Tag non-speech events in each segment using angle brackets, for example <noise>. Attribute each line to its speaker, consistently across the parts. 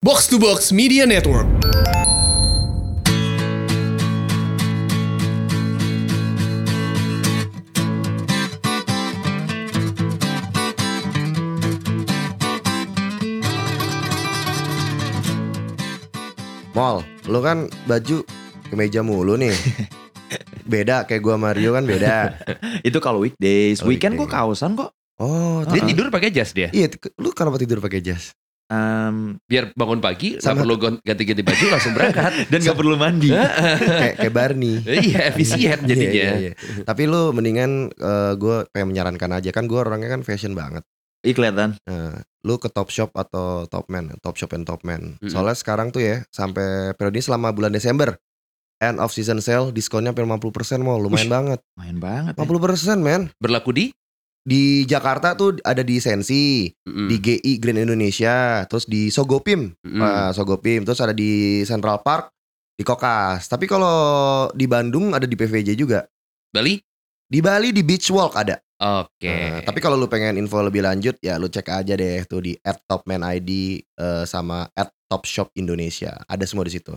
Speaker 1: Box to Box Media Network.
Speaker 2: Mall, lu kan baju kemeja mulu
Speaker 3: <laughs>
Speaker 2: nih. beda kayak gua Mario kan beda.
Speaker 4: Itu kalau weekdays.
Speaker 2: Oh,
Speaker 4: Weekend gue
Speaker 2: weekday.
Speaker 4: kaosan kok.
Speaker 2: Oh,
Speaker 3: Dia
Speaker 2: tapi-
Speaker 3: tidur pakai jas dia.
Speaker 2: Iya, t- lu kenapa tidur pakai jas?
Speaker 4: Em,
Speaker 3: Biar bangun pagi, nggak
Speaker 2: Sama-
Speaker 3: perlu gon- ganti-ganti baju langsung
Speaker 2: <laughs>
Speaker 3: berangkat.
Speaker 4: dan gak perlu mandi.
Speaker 2: kayak kayak
Speaker 3: <laughs>
Speaker 2: Barney.
Speaker 3: Iya, efisien
Speaker 2: Iya,
Speaker 3: jadinya.
Speaker 2: iya, iya. Tapi lu mendingan gue pengen menyarankan aja kan gue orangnya kan fashion banget.
Speaker 4: Ih kelihatan.
Speaker 2: Eh, lu ke Top Shop atau Top Man, Top Shop and Top Man.
Speaker 3: Mm-mm.
Speaker 2: Soalnya sekarang tuh ya sampai periode ini selama bulan Desember end of season sale diskonnya hampir 50% mau lumayan
Speaker 4: Ush.
Speaker 2: banget.
Speaker 4: Main banget. ya.
Speaker 2: 50% men.
Speaker 3: Berlaku di?
Speaker 2: Di Jakarta tuh ada di Sensi,
Speaker 3: Mm-mm.
Speaker 2: di GI Grand Indonesia, terus di Sogopim,
Speaker 3: Mm-mm.
Speaker 2: eh, Sogopim, terus ada di Central Park, di Kokas. Tapi kalau di Bandung ada di PVJ juga.
Speaker 3: Bali?
Speaker 2: Di Bali di Beach Walk ada.
Speaker 3: Oke.
Speaker 2: Nah, tapi kalau lu pengen info lebih lanjut ya lu cek aja deh tuh di @topmanid eh, sama @topshop Indonesia. Ada semua di situ.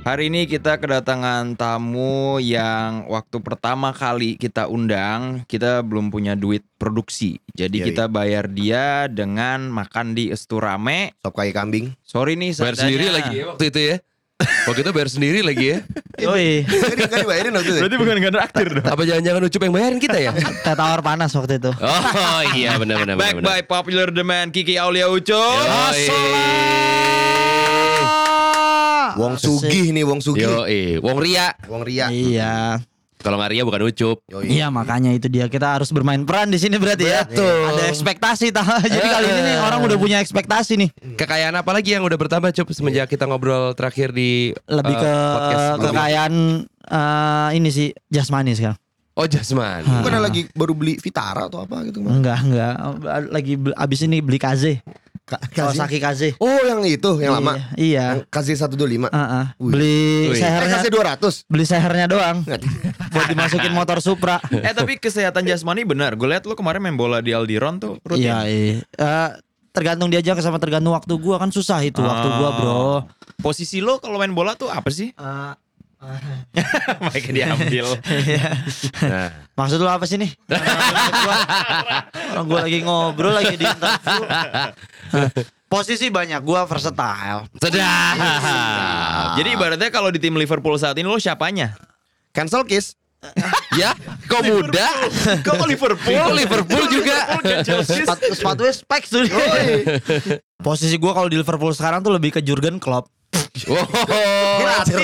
Speaker 4: Hari ini kita kedatangan tamu yang waktu pertama kali kita undang, kita belum punya duit produksi. Jadi
Speaker 2: Yoi.
Speaker 4: kita bayar dia dengan makan di Esturame.
Speaker 2: Sop kaki kambing.
Speaker 4: Sorry nih
Speaker 3: Bayar
Speaker 4: seadanya.
Speaker 3: sendiri lagi ya waktu itu ya. Waktu itu bayar sendiri lagi
Speaker 2: <laughs>
Speaker 3: ya.
Speaker 4: Yoi.
Speaker 2: Kan di- kan dibayarin waktu itu.
Speaker 4: <laughs> Berarti bukan gak aktif dong.
Speaker 3: Apa jangan-jangan Ucup yang bayarin kita
Speaker 2: <laughs>
Speaker 3: ya?
Speaker 5: Kita tawar panas waktu itu.
Speaker 3: Oh iya benar-benar.
Speaker 4: Back
Speaker 3: benar-benar.
Speaker 4: by popular demand Kiki Aulia Ucu.
Speaker 3: Yoi.
Speaker 5: Ah.
Speaker 2: Wong Sugih nih, Wong Sugih.
Speaker 3: Yoi. Wong Ria.
Speaker 2: Wong Ria.
Speaker 5: Iya.
Speaker 3: Kalau nggak Ria bukan Ucup.
Speaker 2: Yoi.
Speaker 5: Iya makanya itu dia kita harus bermain peran di sini berarti ya.
Speaker 3: Betul.
Speaker 5: Ada ekspektasi tah. <laughs> Jadi kali ini nih orang udah punya ekspektasi nih.
Speaker 2: Hmm.
Speaker 3: Kekayaan apa lagi yang udah bertambah Cup semenjak
Speaker 2: Iya.
Speaker 3: kita ngobrol terakhir di
Speaker 5: Lebih
Speaker 3: eh,
Speaker 5: ke
Speaker 3: podcast sebelumnya?
Speaker 5: kekayaan eh, ini sih jasmani sekarang.
Speaker 3: Oh Jasman.
Speaker 5: Hah.
Speaker 2: Bukan lagi baru beli Vitara atau apa gitu. Bang?
Speaker 5: Enggak, enggak. Lagi bel- abis ini beli kaze. Kawasaki kaze.
Speaker 2: Oh, yang itu, yang lama.
Speaker 5: Iya.
Speaker 2: Yang KZ125.
Speaker 5: Ah, ah.
Speaker 2: Wih.
Speaker 5: Beli
Speaker 3: Wih.
Speaker 2: Eh,
Speaker 5: sehernya
Speaker 2: KZ200.
Speaker 5: beli sehernya doang <laughs> buat dimasukin motor Supra.
Speaker 4: Eh tapi kesehatan jasmani benar. Gue liat lu kemarin main bola di Aldiron tuh. ya?
Speaker 5: Iya,
Speaker 4: rutin.
Speaker 5: iya. Eh, tergantung diajak sama tergantung waktu gua kan susah itu waktu gua, Bro.
Speaker 4: Posisi lo kalau main bola tuh apa <laughs> sih?
Speaker 5: Eh,
Speaker 4: Mike <laughs> diambil.
Speaker 3: Nah.
Speaker 5: Iya. maksud lu apa sih
Speaker 2: <laughs>
Speaker 5: nih? Orang gua lagi ngobrol lagi di interview. Hah, Posisi banyak gua versatile.
Speaker 3: Sedap.
Speaker 4: Jadi ibaratnya kalau di tim Liverpool saat ini lo siapanya?
Speaker 2: Cancel kiss.
Speaker 3: ya, kok muda?
Speaker 4: <laughs> Kok kok Liverpool?
Speaker 3: Kok Liverpool juga?
Speaker 5: Sepatu sepatunya spek tuh. dia. Posisi gua kalau di Liverpool sekarang tuh lebih ke Jurgen Klopp.
Speaker 3: Wow.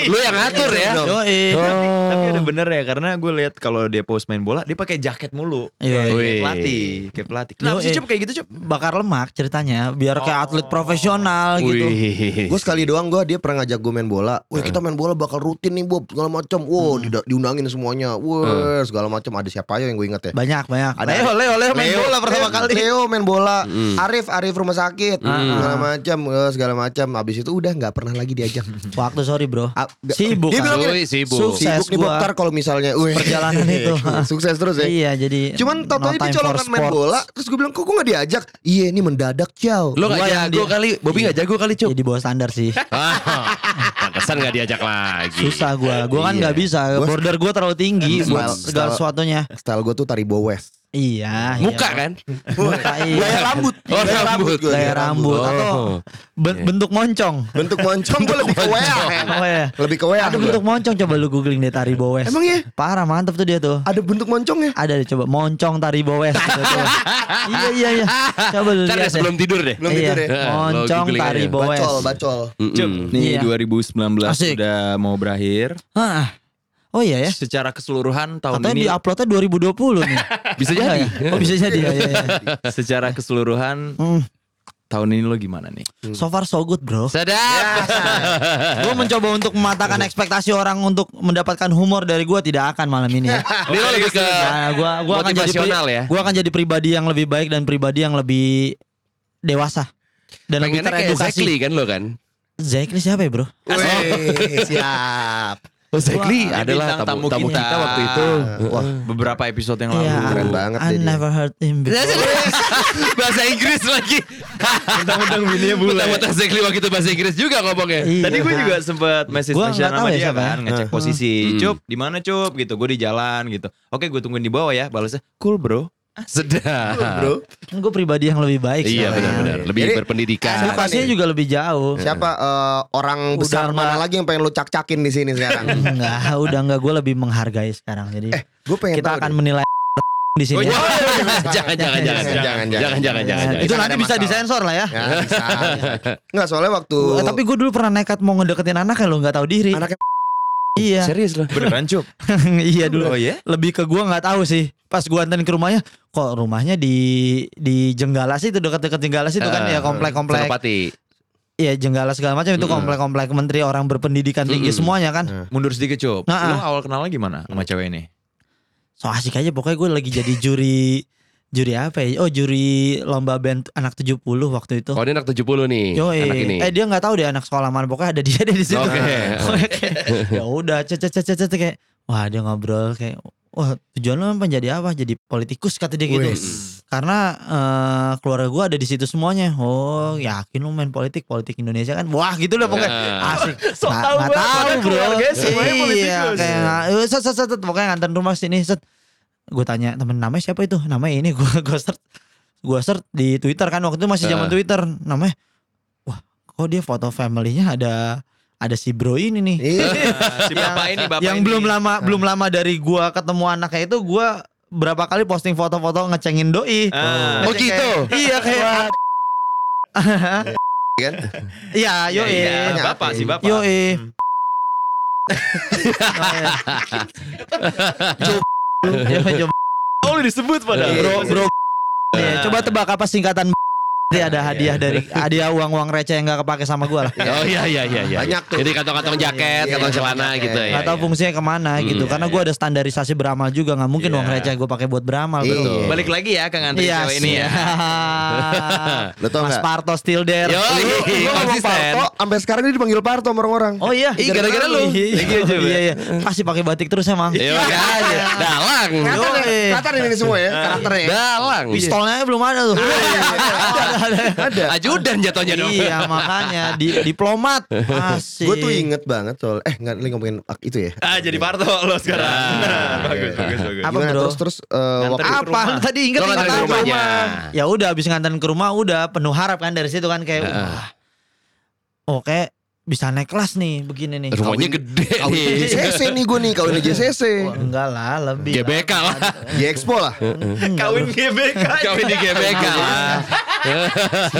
Speaker 3: Lu yang ngatur ya.
Speaker 5: Yoi.
Speaker 4: <laughs>
Speaker 2: Oh.
Speaker 4: Tapi ada bener ya karena gue lihat kalau dia post main bola dia pakai jaket mulu.
Speaker 5: Yoi.
Speaker 4: Kayak
Speaker 3: Wih.
Speaker 4: pelatih, kayak pelatih. Kenapa
Speaker 5: Yoi.
Speaker 4: sih Cep kayak gitu Cep?
Speaker 5: bakar lemak ceritanya biar kayak atlet
Speaker 2: Oh.
Speaker 5: profesional gitu.
Speaker 4: Hmm,
Speaker 3: Wih.
Speaker 2: Gue sekali doang gue dia pernah ngajak gue main bola. Wah kita main bola bakal rutin nih Bob segala macam.
Speaker 5: Hmm.
Speaker 2: Wow dida- diundangin semuanya. Wah segala macam ada siapa aja yang gue inget ya.
Speaker 5: Banyak banyak.
Speaker 2: Ada-
Speaker 5: Leo Leo Leo main bola pertama
Speaker 2: Leo-
Speaker 5: kali. Hmm.
Speaker 2: Leo main bola.
Speaker 3: Mm.
Speaker 2: Arif Arif rumah sakit. Segala macam eh, segala macam. Habis itu udah nggak pernah lagi
Speaker 5: <laughs>
Speaker 2: diajak.
Speaker 5: Waktu sorry bro.
Speaker 2: Ah, nggak-
Speaker 5: Sibuk.
Speaker 2: Dia bilang
Speaker 5: kan.
Speaker 3: Wih, sibuk.
Speaker 5: Sukses
Speaker 2: Sibuk nih Bob
Speaker 5: gua.
Speaker 2: Tar kalau misalnya. Wih.
Speaker 5: Perjalanan itu.
Speaker 2: <laughs> Sukses terus ya.
Speaker 5: Iya jadi.
Speaker 2: Cuman tau-tau
Speaker 5: no
Speaker 2: dia
Speaker 5: time
Speaker 2: colongan
Speaker 5: for
Speaker 2: main
Speaker 5: sport.
Speaker 2: bola Terus gue bilang kok gue gak diajak Iya ini mendadak ciao
Speaker 3: Lu gak
Speaker 5: Gua yang
Speaker 3: jago
Speaker 5: dia-
Speaker 3: kali, Bobi gak jago kali Cup.
Speaker 5: Jadi Iya, bawah standar sih.
Speaker 3: Ah, Pantesan gak diajak lagi.
Speaker 5: Susah gua. Gua kan nggak bisa.
Speaker 2: Gua-
Speaker 5: Border gua terlalu tinggi
Speaker 2: Emang
Speaker 5: buat
Speaker 2: style-
Speaker 5: segala
Speaker 2: style-
Speaker 5: sesuatunya.
Speaker 2: Style gue tuh Taribo West
Speaker 5: Iya.
Speaker 3: Muka
Speaker 5: iya.
Speaker 3: kan?
Speaker 5: Muka iya.
Speaker 2: Gaya rambut
Speaker 3: Oh,
Speaker 2: Gaya
Speaker 3: rambut.
Speaker 2: gua.
Speaker 5: Gaya rambut atau
Speaker 3: Oh.
Speaker 5: ben- bentuk moncong.
Speaker 2: Bentuk moncong gue lebih ke weah men.
Speaker 5: Oh, iya.
Speaker 2: Lebih ke weah
Speaker 5: Ada
Speaker 2: gua.
Speaker 5: bentuk iya? moncong coba lu googling deh Taribo West.
Speaker 2: Emang ya?
Speaker 5: Parah mantep tuh dia tuh.
Speaker 2: Ada bentuk moncongnya
Speaker 5: Ada deh coba moncong Taribo West. Coba, coba. iya iya iya. Coba lu
Speaker 3: Ntar
Speaker 5: lihat
Speaker 3: dia
Speaker 5: deh.
Speaker 3: sebelum tidur deh.
Speaker 2: Belum tidur ya?
Speaker 5: Iya,
Speaker 3: Nah, lo
Speaker 5: Moncong
Speaker 3: googling aja.
Speaker 5: Taribo West.
Speaker 2: Bacol, bacol
Speaker 4: Cep,
Speaker 3: Mm-mm.
Speaker 4: nih
Speaker 5: Iya.
Speaker 4: 2019
Speaker 5: Asik.
Speaker 4: udah mau berakhir.
Speaker 5: Hah. Oh iya ya.
Speaker 4: Secara keseluruhan tahun
Speaker 5: Katanya
Speaker 4: ini
Speaker 5: di uploadnya 2020 nih.
Speaker 3: Bisa jadi.
Speaker 5: <laughs> Oh bisa jadi. ya, ya, ya.
Speaker 4: secara keseluruhan
Speaker 5: Hmm,
Speaker 4: tahun ini lo gimana nih?
Speaker 2: Hmm.
Speaker 5: So far so good bro.
Speaker 3: Sedap.
Speaker 5: Gue mencoba untuk mematahkan ekspektasi orang untuk mendapatkan humor dari gue tidak akan malam ini. Ya.
Speaker 3: Ini lo lebih ke
Speaker 5: Nah, gua gua akan jadi pri-
Speaker 3: Motivasional ya.
Speaker 5: Gua akan jadi pribadi yang lebih baik dan pribadi yang lebih dewasa dan lebih
Speaker 3: pengennya kayak
Speaker 5: teredukasi.
Speaker 3: Zekli kan lo kan?
Speaker 5: Zekli siapa ya bro?
Speaker 2: Wih, siap
Speaker 3: Exactly
Speaker 4: Wah,
Speaker 3: adalah
Speaker 4: bintang
Speaker 3: tamu,
Speaker 4: tamu
Speaker 3: tamu kita.
Speaker 4: kita.
Speaker 3: waktu itu.
Speaker 2: Wah,
Speaker 4: Beberapa episode yang lalu.
Speaker 5: Iya,
Speaker 2: Keren
Speaker 5: I-
Speaker 2: banget
Speaker 5: I
Speaker 2: dia, dia.
Speaker 5: never heard him before.
Speaker 3: <laughs> bahasa Inggris lagi.
Speaker 4: Tentang bininya
Speaker 3: Betul-betul exactly waktu itu bahasa Inggris juga ngomongnya.
Speaker 5: Iya.
Speaker 4: Tadi gue juga sempet message
Speaker 5: Gua
Speaker 4: message
Speaker 5: nggak tahu
Speaker 4: sama
Speaker 5: ya
Speaker 4: dia
Speaker 5: siapa ya.
Speaker 4: kan ngecek
Speaker 2: Heeh.
Speaker 4: posisi.
Speaker 3: Hmm.
Speaker 4: Cup, di mana Cup gitu. Gue di jalan gitu. Oke, gue tungguin di bawah ya. Balasnya cool, Bro.
Speaker 3: Sedap.
Speaker 5: Kan gue pribadi yang lebih baik.
Speaker 3: Iya
Speaker 5: soalnya.
Speaker 3: benar-benar lebih
Speaker 2: Jadi,
Speaker 3: berpendidikan.
Speaker 2: siapa
Speaker 5: Lokasinya
Speaker 2: nih?
Speaker 5: juga lebih jauh.
Speaker 2: Siapa eh, orang
Speaker 5: Udah Hmm.
Speaker 2: besar mana
Speaker 5: nggak-
Speaker 2: lagi yang pengen lu cak-cakin di sini sekarang?
Speaker 5: Enggak, udah enggak gue lebih menghargai sekarang. Jadi
Speaker 2: Gue pengen
Speaker 5: kita
Speaker 2: Eh, tahu
Speaker 5: akan
Speaker 2: deh.
Speaker 5: menilai di sini.
Speaker 3: Oh, iya.
Speaker 2: Jangan,
Speaker 3: jangan, jangan,
Speaker 2: jangan,
Speaker 3: jangan, jangan, jangan, jangan.
Speaker 5: Iya. Itu
Speaker 2: Kita
Speaker 5: nanti
Speaker 2: ada
Speaker 5: bisa
Speaker 2: masalah.
Speaker 5: disensor lah ya.
Speaker 2: Ya, bisa. Nggak soalnya waktu
Speaker 5: Eh, tapi gue dulu pernah nekat mau ngedeketin anaknya lo nggak tahu diri.
Speaker 2: Anaknya
Speaker 5: Iya,
Speaker 3: ya. Serius loh.
Speaker 4: Beneran, Cup?
Speaker 5: <laughs>
Speaker 4: <laughs>
Speaker 5: iya dulu.
Speaker 4: Oh iya?
Speaker 5: Lebih ke gue nggak tahu sih. Pas gue anterin ke rumahnya, kok rumahnya di di Jenggala sih itu dekat-dekat Jenggala sih itu
Speaker 3: Ah.
Speaker 5: kan
Speaker 2: Ah,
Speaker 5: ya komplek-komplek.
Speaker 3: Senopati.
Speaker 5: Iya Jenggala segala macam
Speaker 2: Hmm.
Speaker 5: itu
Speaker 3: Mm-mm.
Speaker 5: komplek-komplek menteri orang berpendidikan tinggi
Speaker 3: Mm-mm.
Speaker 5: semuanya kan.
Speaker 4: Mundur sedikit, Cup.
Speaker 5: Nah,
Speaker 4: Lo awal kenalnya gimana sama cewek
Speaker 5: <laughs>
Speaker 4: ini?
Speaker 5: So asik aja pokoknya gue lagi jadi juri juri apa ya? Oh juri lomba band anak 70 waktu itu.
Speaker 3: Oh ini anak 70 nih
Speaker 5: Yoi.
Speaker 3: anak ini.
Speaker 5: Eh dia nggak tahu deh anak sekolah mana pokoknya ada dia deh di situ. <laughs>
Speaker 3: Oke.
Speaker 5: Oke. ya udah cet cet cet cet cet, kayak wah dia ngobrol kayak wah tujuan lo emang jadi apa? Jadi politikus kata dia gitu.
Speaker 2: Wes.
Speaker 5: Karena eh, keluarga gua ada di situ semuanya. Oh, yakin lu main politik, politik Indonesia kan. Wah, gitu lah pokoknya.
Speaker 4: Ah.
Speaker 3: Nah.
Speaker 4: <laughs>
Speaker 5: Asik.
Speaker 4: So
Speaker 5: Nggak-
Speaker 4: tau
Speaker 5: nggak
Speaker 4: banget, padahal
Speaker 5: bro.
Speaker 4: keluarganya semuanya
Speaker 5: Iya,
Speaker 4: politikus.
Speaker 5: kayak eh, set set set set, pokoknya nganter rumah sini set. Gue tanya temen namanya siapa itu? Namanya ini gua <laughs> gua search gua search di Twitter kan waktu itu masih
Speaker 4: Ah.
Speaker 5: zaman
Speaker 3: Heeh.
Speaker 5: Twitter. Namanya wah, kok dia foto family-nya ada ada si bro ini nih <laughs>
Speaker 2: Iya.
Speaker 4: Ah,
Speaker 2: Ah.
Speaker 4: Si bapak ini, bapak
Speaker 5: yang
Speaker 4: ini.
Speaker 5: belum lama belum lama dari gua ketemu anaknya itu gua berapa kali posting foto-foto ngecengin doi.
Speaker 4: Ah.
Speaker 3: Oh
Speaker 5: Ngeceng
Speaker 3: gitu.
Speaker 5: kayak- Iya kayak <laughs>
Speaker 2: kan?
Speaker 5: Iya, yo
Speaker 4: Iya, iya. Bapak, si bapak.
Speaker 5: Yo eh.
Speaker 4: Hmm.
Speaker 3: Hmm.
Speaker 4: Oh, lu disebut padahal.
Speaker 2: Iya,
Speaker 5: Bro,
Speaker 2: iya.
Speaker 5: bro.
Speaker 4: Iya.
Speaker 5: Iya, Coba tebak apa singkatan Nanti ada hadiah dari hadiah uang-uang receh yang gak kepake sama gua lah.
Speaker 3: Oh Iya, iya iya iya. iya.
Speaker 2: Banyak tuh.
Speaker 3: Jadi kantong-kantong jaket,
Speaker 2: Iya,
Speaker 3: kantong
Speaker 2: iya,
Speaker 3: celana
Speaker 2: jaket.
Speaker 3: gitu ya.
Speaker 5: Gak tahu
Speaker 3: iya.
Speaker 5: fungsinya kemana
Speaker 3: Hmm,
Speaker 5: gitu.
Speaker 3: iya,
Speaker 5: Karena gua ada standarisasi beramal juga. Gak mungkin
Speaker 4: Iya.
Speaker 5: uang receh gua pakai buat beramal.
Speaker 2: Iya.
Speaker 5: bro.
Speaker 2: Betul.
Speaker 4: Balik lagi ya ke ngantri
Speaker 5: Iya
Speaker 4: cewek ini
Speaker 5: <laughs>
Speaker 4: ya.
Speaker 5: siap.
Speaker 2: Lo tau
Speaker 5: Mas
Speaker 2: nggak?
Speaker 5: Parto still there.
Speaker 3: Yo,
Speaker 5: Lu-
Speaker 3: iya,
Speaker 5: lu ngomong
Speaker 3: konsisten.
Speaker 5: Parto.
Speaker 2: Oh, sampai sekarang dia dipanggil Parto sama orang-orang.
Speaker 5: Oh iya,
Speaker 3: Ih, gara-gara lu.
Speaker 5: Iya,
Speaker 3: Lagi aja,
Speaker 5: iya, iya. Pasti pakai batik terus emang.
Speaker 3: Iya makanya.
Speaker 5: <laughs>
Speaker 3: Dalang.
Speaker 5: Yo,
Speaker 2: Karakter
Speaker 5: eh.
Speaker 2: karakter ya? ini semua ya, karakternya. ya.
Speaker 3: Dalang.
Speaker 5: Pistolnya belum ada tuh. Ada, <laughs> ada.
Speaker 2: Ada.
Speaker 3: Ajudan jatuhnya dong.
Speaker 5: Iya, makanya di diplomat. Asik.
Speaker 2: Gue tuh inget banget soal eh nggak lagi ngomongin ak- itu ya.
Speaker 4: Ah, jadi Parto lo sekarang. <laughs> bagus, bagus, bagus.
Speaker 5: Nah, iya. Apa,
Speaker 2: Gimana
Speaker 5: bro?
Speaker 2: terus terus eh,
Speaker 4: Nganter
Speaker 2: waktu
Speaker 4: ke
Speaker 5: apa
Speaker 4: rumah.
Speaker 5: Lu tadi inget
Speaker 3: Lo nganterin
Speaker 5: inget
Speaker 3: ke
Speaker 5: aja.
Speaker 3: rumahnya.
Speaker 5: Ya udah habis nganterin ke rumah udah penuh harap kan dari situ kan kayak wah. Oke, bisa naik kelas nih begini nih.
Speaker 3: Rumahnya gede
Speaker 2: kawin
Speaker 3: nih.
Speaker 2: JCC nih gue nih kawin
Speaker 3: Iya.
Speaker 2: JCC.
Speaker 5: Wah, enggak lah, lebih. lah.
Speaker 3: GBK lah.
Speaker 2: Di Expo lah.
Speaker 5: Enggak,
Speaker 4: Kawin
Speaker 5: bro.
Speaker 4: GBK.
Speaker 3: Kawin di GBK lah.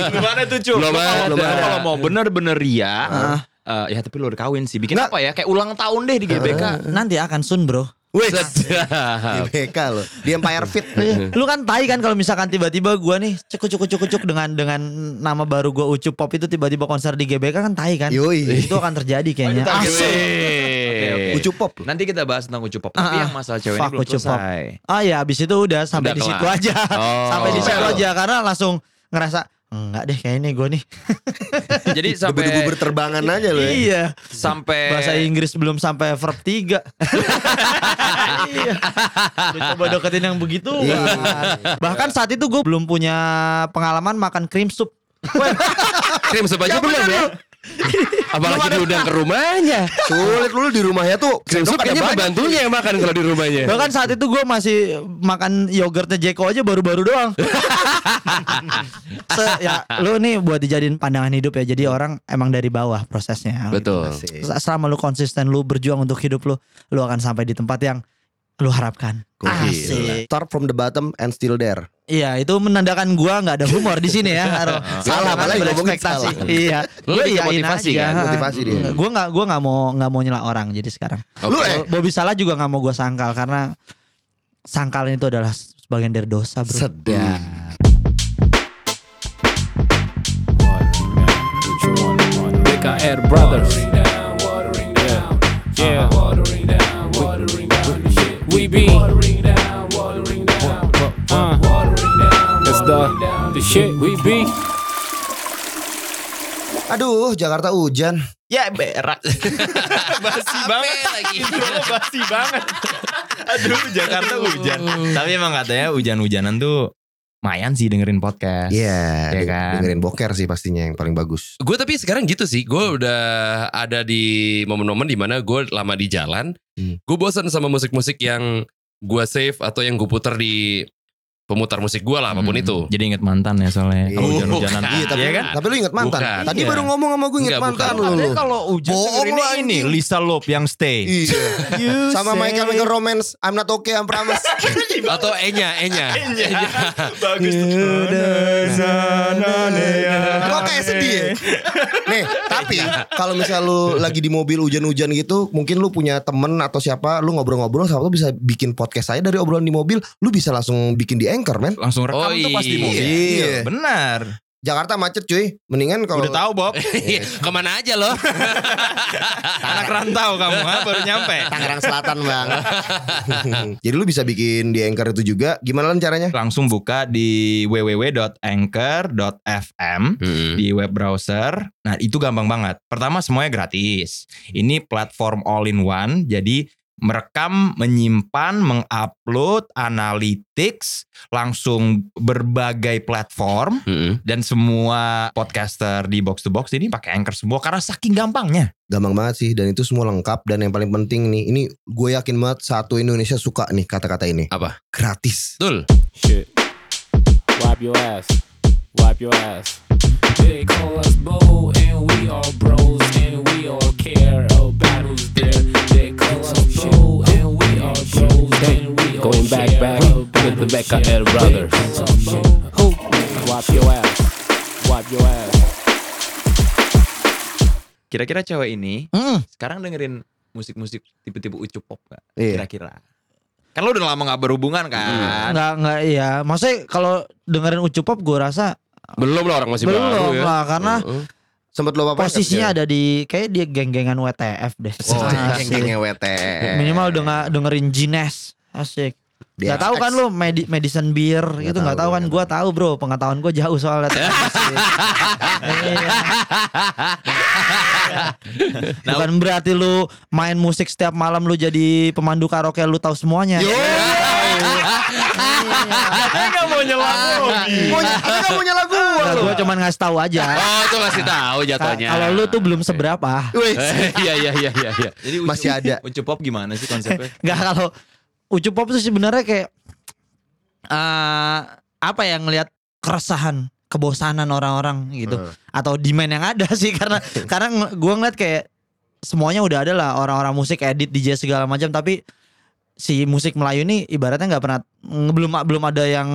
Speaker 4: Belum ada tuh cuy.
Speaker 3: Belum ada.
Speaker 4: Kalau
Speaker 3: Belum ada.
Speaker 4: kalau mau bener-bener ya. eh, ya tapi lu udah kawin sih. Bikin apa ya? Kayak ulang tahun deh di GBK.
Speaker 5: Nanti akan sun, Bro.
Speaker 3: Sedap.
Speaker 2: GBK loh. Di Empire Fit.
Speaker 3: Iya.
Speaker 5: Lu kan tai kan kalau misalkan tiba-tiba gua nih cekuk cekuk cekuk cekuk dengan dengan nama baru gua Ucup Pop itu tiba-tiba konser di GBK kan tai kan.
Speaker 2: Yoi.
Speaker 5: Itu akan terjadi kayaknya.
Speaker 4: Aduh, target.
Speaker 5: Asik.
Speaker 3: Asik.
Speaker 2: Ucu pop.
Speaker 4: Nanti kita bahas tentang Ucu Pop. Tapi
Speaker 5: Ah,
Speaker 4: yang masalah cewek ini
Speaker 5: fuck
Speaker 4: belum
Speaker 5: Ucu Pop.
Speaker 4: selesai.
Speaker 5: Ah ya abis itu udah sampai
Speaker 3: Udah
Speaker 5: di situ
Speaker 3: kelar.
Speaker 5: aja. <laughs>
Speaker 3: Oh.
Speaker 5: sampai di situ
Speaker 2: Sampai
Speaker 5: aja karena langsung ngerasa enggak deh kayaknya ini gua nih. <laughs>
Speaker 4: Jadi sampai
Speaker 2: Debu-debu berterbangan aja loh. ya.
Speaker 5: iya.
Speaker 4: sampai
Speaker 3: Eh.
Speaker 5: Bahasa Inggris belum sampai verb
Speaker 3: <laughs>
Speaker 5: 3. iya. Lu coba deketin yang begitu.
Speaker 3: Iya.
Speaker 5: Bahkan saat itu gue belum punya pengalaman makan cream soup.
Speaker 3: Krim sup aja belum ya? Apalagi diundang ke rumahnya.
Speaker 2: Sulit lu di rumahnya tuh.
Speaker 3: Krim sup
Speaker 2: sendok ada
Speaker 3: kayaknya
Speaker 2: banyak.
Speaker 3: pembantunya yang makan kalau di rumahnya.
Speaker 5: Bahkan saat itu gue masih makan yogurtnya Jeko aja baru-baru doang. <laughs> Se- ya, lu nih buat dijadiin pandangan hidup ya. Jadi orang emang dari bawah prosesnya.
Speaker 3: Betul.
Speaker 2: Asik.
Speaker 5: Gitu. Selama lu konsisten, lu berjuang untuk hidup lu, lu akan sampai di tempat yang lu harapkan.
Speaker 3: Gokil.
Speaker 5: Asik.
Speaker 2: Start from the bottom and still there.
Speaker 5: Iya, itu menandakan gua nggak ada humor di sini
Speaker 3: <laughs>
Speaker 5: ya. Harus-
Speaker 2: Salah,
Speaker 5: jangan
Speaker 2: apalagi ngomongin
Speaker 5: berekspektasi.
Speaker 2: salah.
Speaker 5: Iya.
Speaker 3: Lu
Speaker 5: Gua
Speaker 3: lebih ke
Speaker 5: iyain
Speaker 3: motivasi
Speaker 5: aja.
Speaker 3: kan?
Speaker 2: Motivasi dia.
Speaker 5: Hmm. Gua nggak gua nggak mau nggak mau nyela orang jadi sekarang.
Speaker 2: Lu eh
Speaker 5: Bobby salah juga nggak mau gua sangkal karena sangkalan itu adalah sebagian dari dosa, Bro.
Speaker 3: Sedap.
Speaker 1: BKR Brothers. Watering down, watering down. Yeah. Watering down, watering down. the shit. We be. Watering down, watering down. Uh. Watering down, That's the, the shit we be.
Speaker 2: Aduh, Jakarta hujan.
Speaker 5: Ya berak.
Speaker 4: Basi banget lagi.
Speaker 5: Basi banget.
Speaker 4: Aduh, Jakarta hujan. Tapi emang katanya hujan-hujanan tuh mayan sih dengerin podcast.
Speaker 2: Iya,
Speaker 4: Iya
Speaker 2: de-
Speaker 4: kan?
Speaker 2: dengerin boker sih pastinya yang paling bagus.
Speaker 3: Gue tapi sekarang gitu sih, gue udah ada di momen-momen dimana gue lama di jalan,
Speaker 2: Hmm.
Speaker 3: gue bosan sama musik-musik yang gue save atau yang gue puter di pemutar musik gue lah apapun
Speaker 4: Hmm,
Speaker 3: itu.
Speaker 4: Jadi inget mantan ya soalnya. Kalau
Speaker 2: Iya.
Speaker 4: hujan-hujanan.
Speaker 3: Bukan.
Speaker 2: Iya, tapi,
Speaker 3: Iya kan?
Speaker 2: tapi lu inget mantan.
Speaker 3: Bukan.
Speaker 2: Tadi
Speaker 4: Iya.
Speaker 2: baru ngomong sama gue inget
Speaker 3: Enggak,
Speaker 2: mantan
Speaker 3: bukan.
Speaker 2: lu. lu.
Speaker 4: kalau hujan
Speaker 2: Bohong
Speaker 4: dengerinnya
Speaker 2: lu,
Speaker 4: ini
Speaker 2: anjing.
Speaker 4: Lisa Lop yang stay.
Speaker 3: <laughs>
Speaker 2: Iya.
Speaker 5: You
Speaker 2: Sama
Speaker 5: say-
Speaker 2: Michael Michael Romance, I'm not okay, I'm promise.
Speaker 3: <laughs> Atau E-nya, E-nya.
Speaker 5: Bagus
Speaker 4: Nah,
Speaker 5: tuh.
Speaker 2: Nah, Kok kayak sedih
Speaker 4: <laughs>
Speaker 2: ya? Nih, tapi kalau misal lu lagi di mobil hujan-hujan gitu, mungkin lu punya temen atau siapa, lu ngobrol-ngobrol sama lu bisa bikin podcast saya dari obrolan di mobil, lu bisa langsung bikin di Anchor, men.
Speaker 4: Langsung
Speaker 3: Oh
Speaker 4: rekam tuh pas di
Speaker 3: iya.
Speaker 4: mobil.
Speaker 2: Iya.
Speaker 4: Benar.
Speaker 2: Jakarta macet cuy, mendingan kalau
Speaker 4: Udah tahu Bob.
Speaker 3: Iya, <laughs> Kemana aja loh?
Speaker 4: Anak rantau kamu ha, baru nyampe.
Speaker 2: Tangerang Selatan bang. <laughs> Jadi lu bisa bikin di anchor itu juga. Gimana Lan, caranya?
Speaker 4: Langsung buka di www.anchor.fm
Speaker 3: Hmm.
Speaker 4: di web browser. Nah, itu gampang banget. Pertama semuanya gratis. Ini platform all in one. Jadi merekam, menyimpan, mengupload, analytics, langsung berbagai platform
Speaker 3: Hmm.
Speaker 4: dan semua podcaster di box to box ini pakai Anchor semua karena saking gampangnya.
Speaker 2: Gampang banget sih dan itu semua lengkap dan yang paling penting nih, ini gue yakin banget satu Indonesia suka nih kata-kata ini.
Speaker 3: Apa?
Speaker 2: Gratis.
Speaker 3: Betul.
Speaker 1: Shit. Wipe your ass. Wipe your ass. They call us Bo and we are bros and we all care about who's there. They call us Bo and we are bros and we all Going back back with the Becca L brothers. Wipe your ass. Wipe your ass.
Speaker 4: Kira-kira cewek ini
Speaker 5: Hmm.
Speaker 4: sekarang dengerin musik-musik tipe-tipe ucup pop gak?
Speaker 2: Iya.
Speaker 4: Kira-kira. Kan lo udah lama gak berhubungan kan?
Speaker 5: Enggak enggak iya. Maksudnya kalau dengerin Ucu Pop gue rasa
Speaker 3: Belum lah orang masih baru
Speaker 5: belum
Speaker 3: ya.
Speaker 5: lah karena
Speaker 3: Heeh.
Speaker 2: Sempet lu apa?
Speaker 5: Nah, posisinya ada di kayak dia geng-gengan WTF deh.
Speaker 2: Oh,
Speaker 5: Asik.
Speaker 2: geng-gengnya WT.
Speaker 5: Minimal denger, dengerin Gines. Asik.
Speaker 2: Dia
Speaker 5: Gak tahu kan lu medi- medicine beer gitu
Speaker 2: tahu,
Speaker 5: nggak tahu kan
Speaker 2: nggak
Speaker 5: gua tahu bro pengetahuan gua jauh soalnya. Iya. Bukan berarti lu main musik setiap malam lu jadi pemandu karaoke lu tahu semuanya. Iya.
Speaker 4: Gak mau nyela
Speaker 2: Mau nyanyi mau nyala gue.
Speaker 5: Nah, gua cuman ngasih tahu aja.
Speaker 3: Oh, itu ngasih tahu
Speaker 5: Ka-
Speaker 3: jatuhnya.
Speaker 5: Kalau lu tuh belum seberapa.
Speaker 2: Eh,
Speaker 3: Iya iya iya iya iya.
Speaker 4: Jadi
Speaker 2: Masih ada.
Speaker 4: <laughs> Ucup pop gimana sih konsepnya?
Speaker 5: Enggak kalau Ucu Pop tuh sebenarnya kayak eh apa ya ngelihat keresahan, kebosanan orang-orang gitu atau demand yang ada <laughs> sih karena karena nge- gua ngeliat kayak semuanya udah ada lah orang-orang musik edit DJ segala macam tapi si musik Melayu ini ibaratnya nggak pernah nge- belum belum ada yang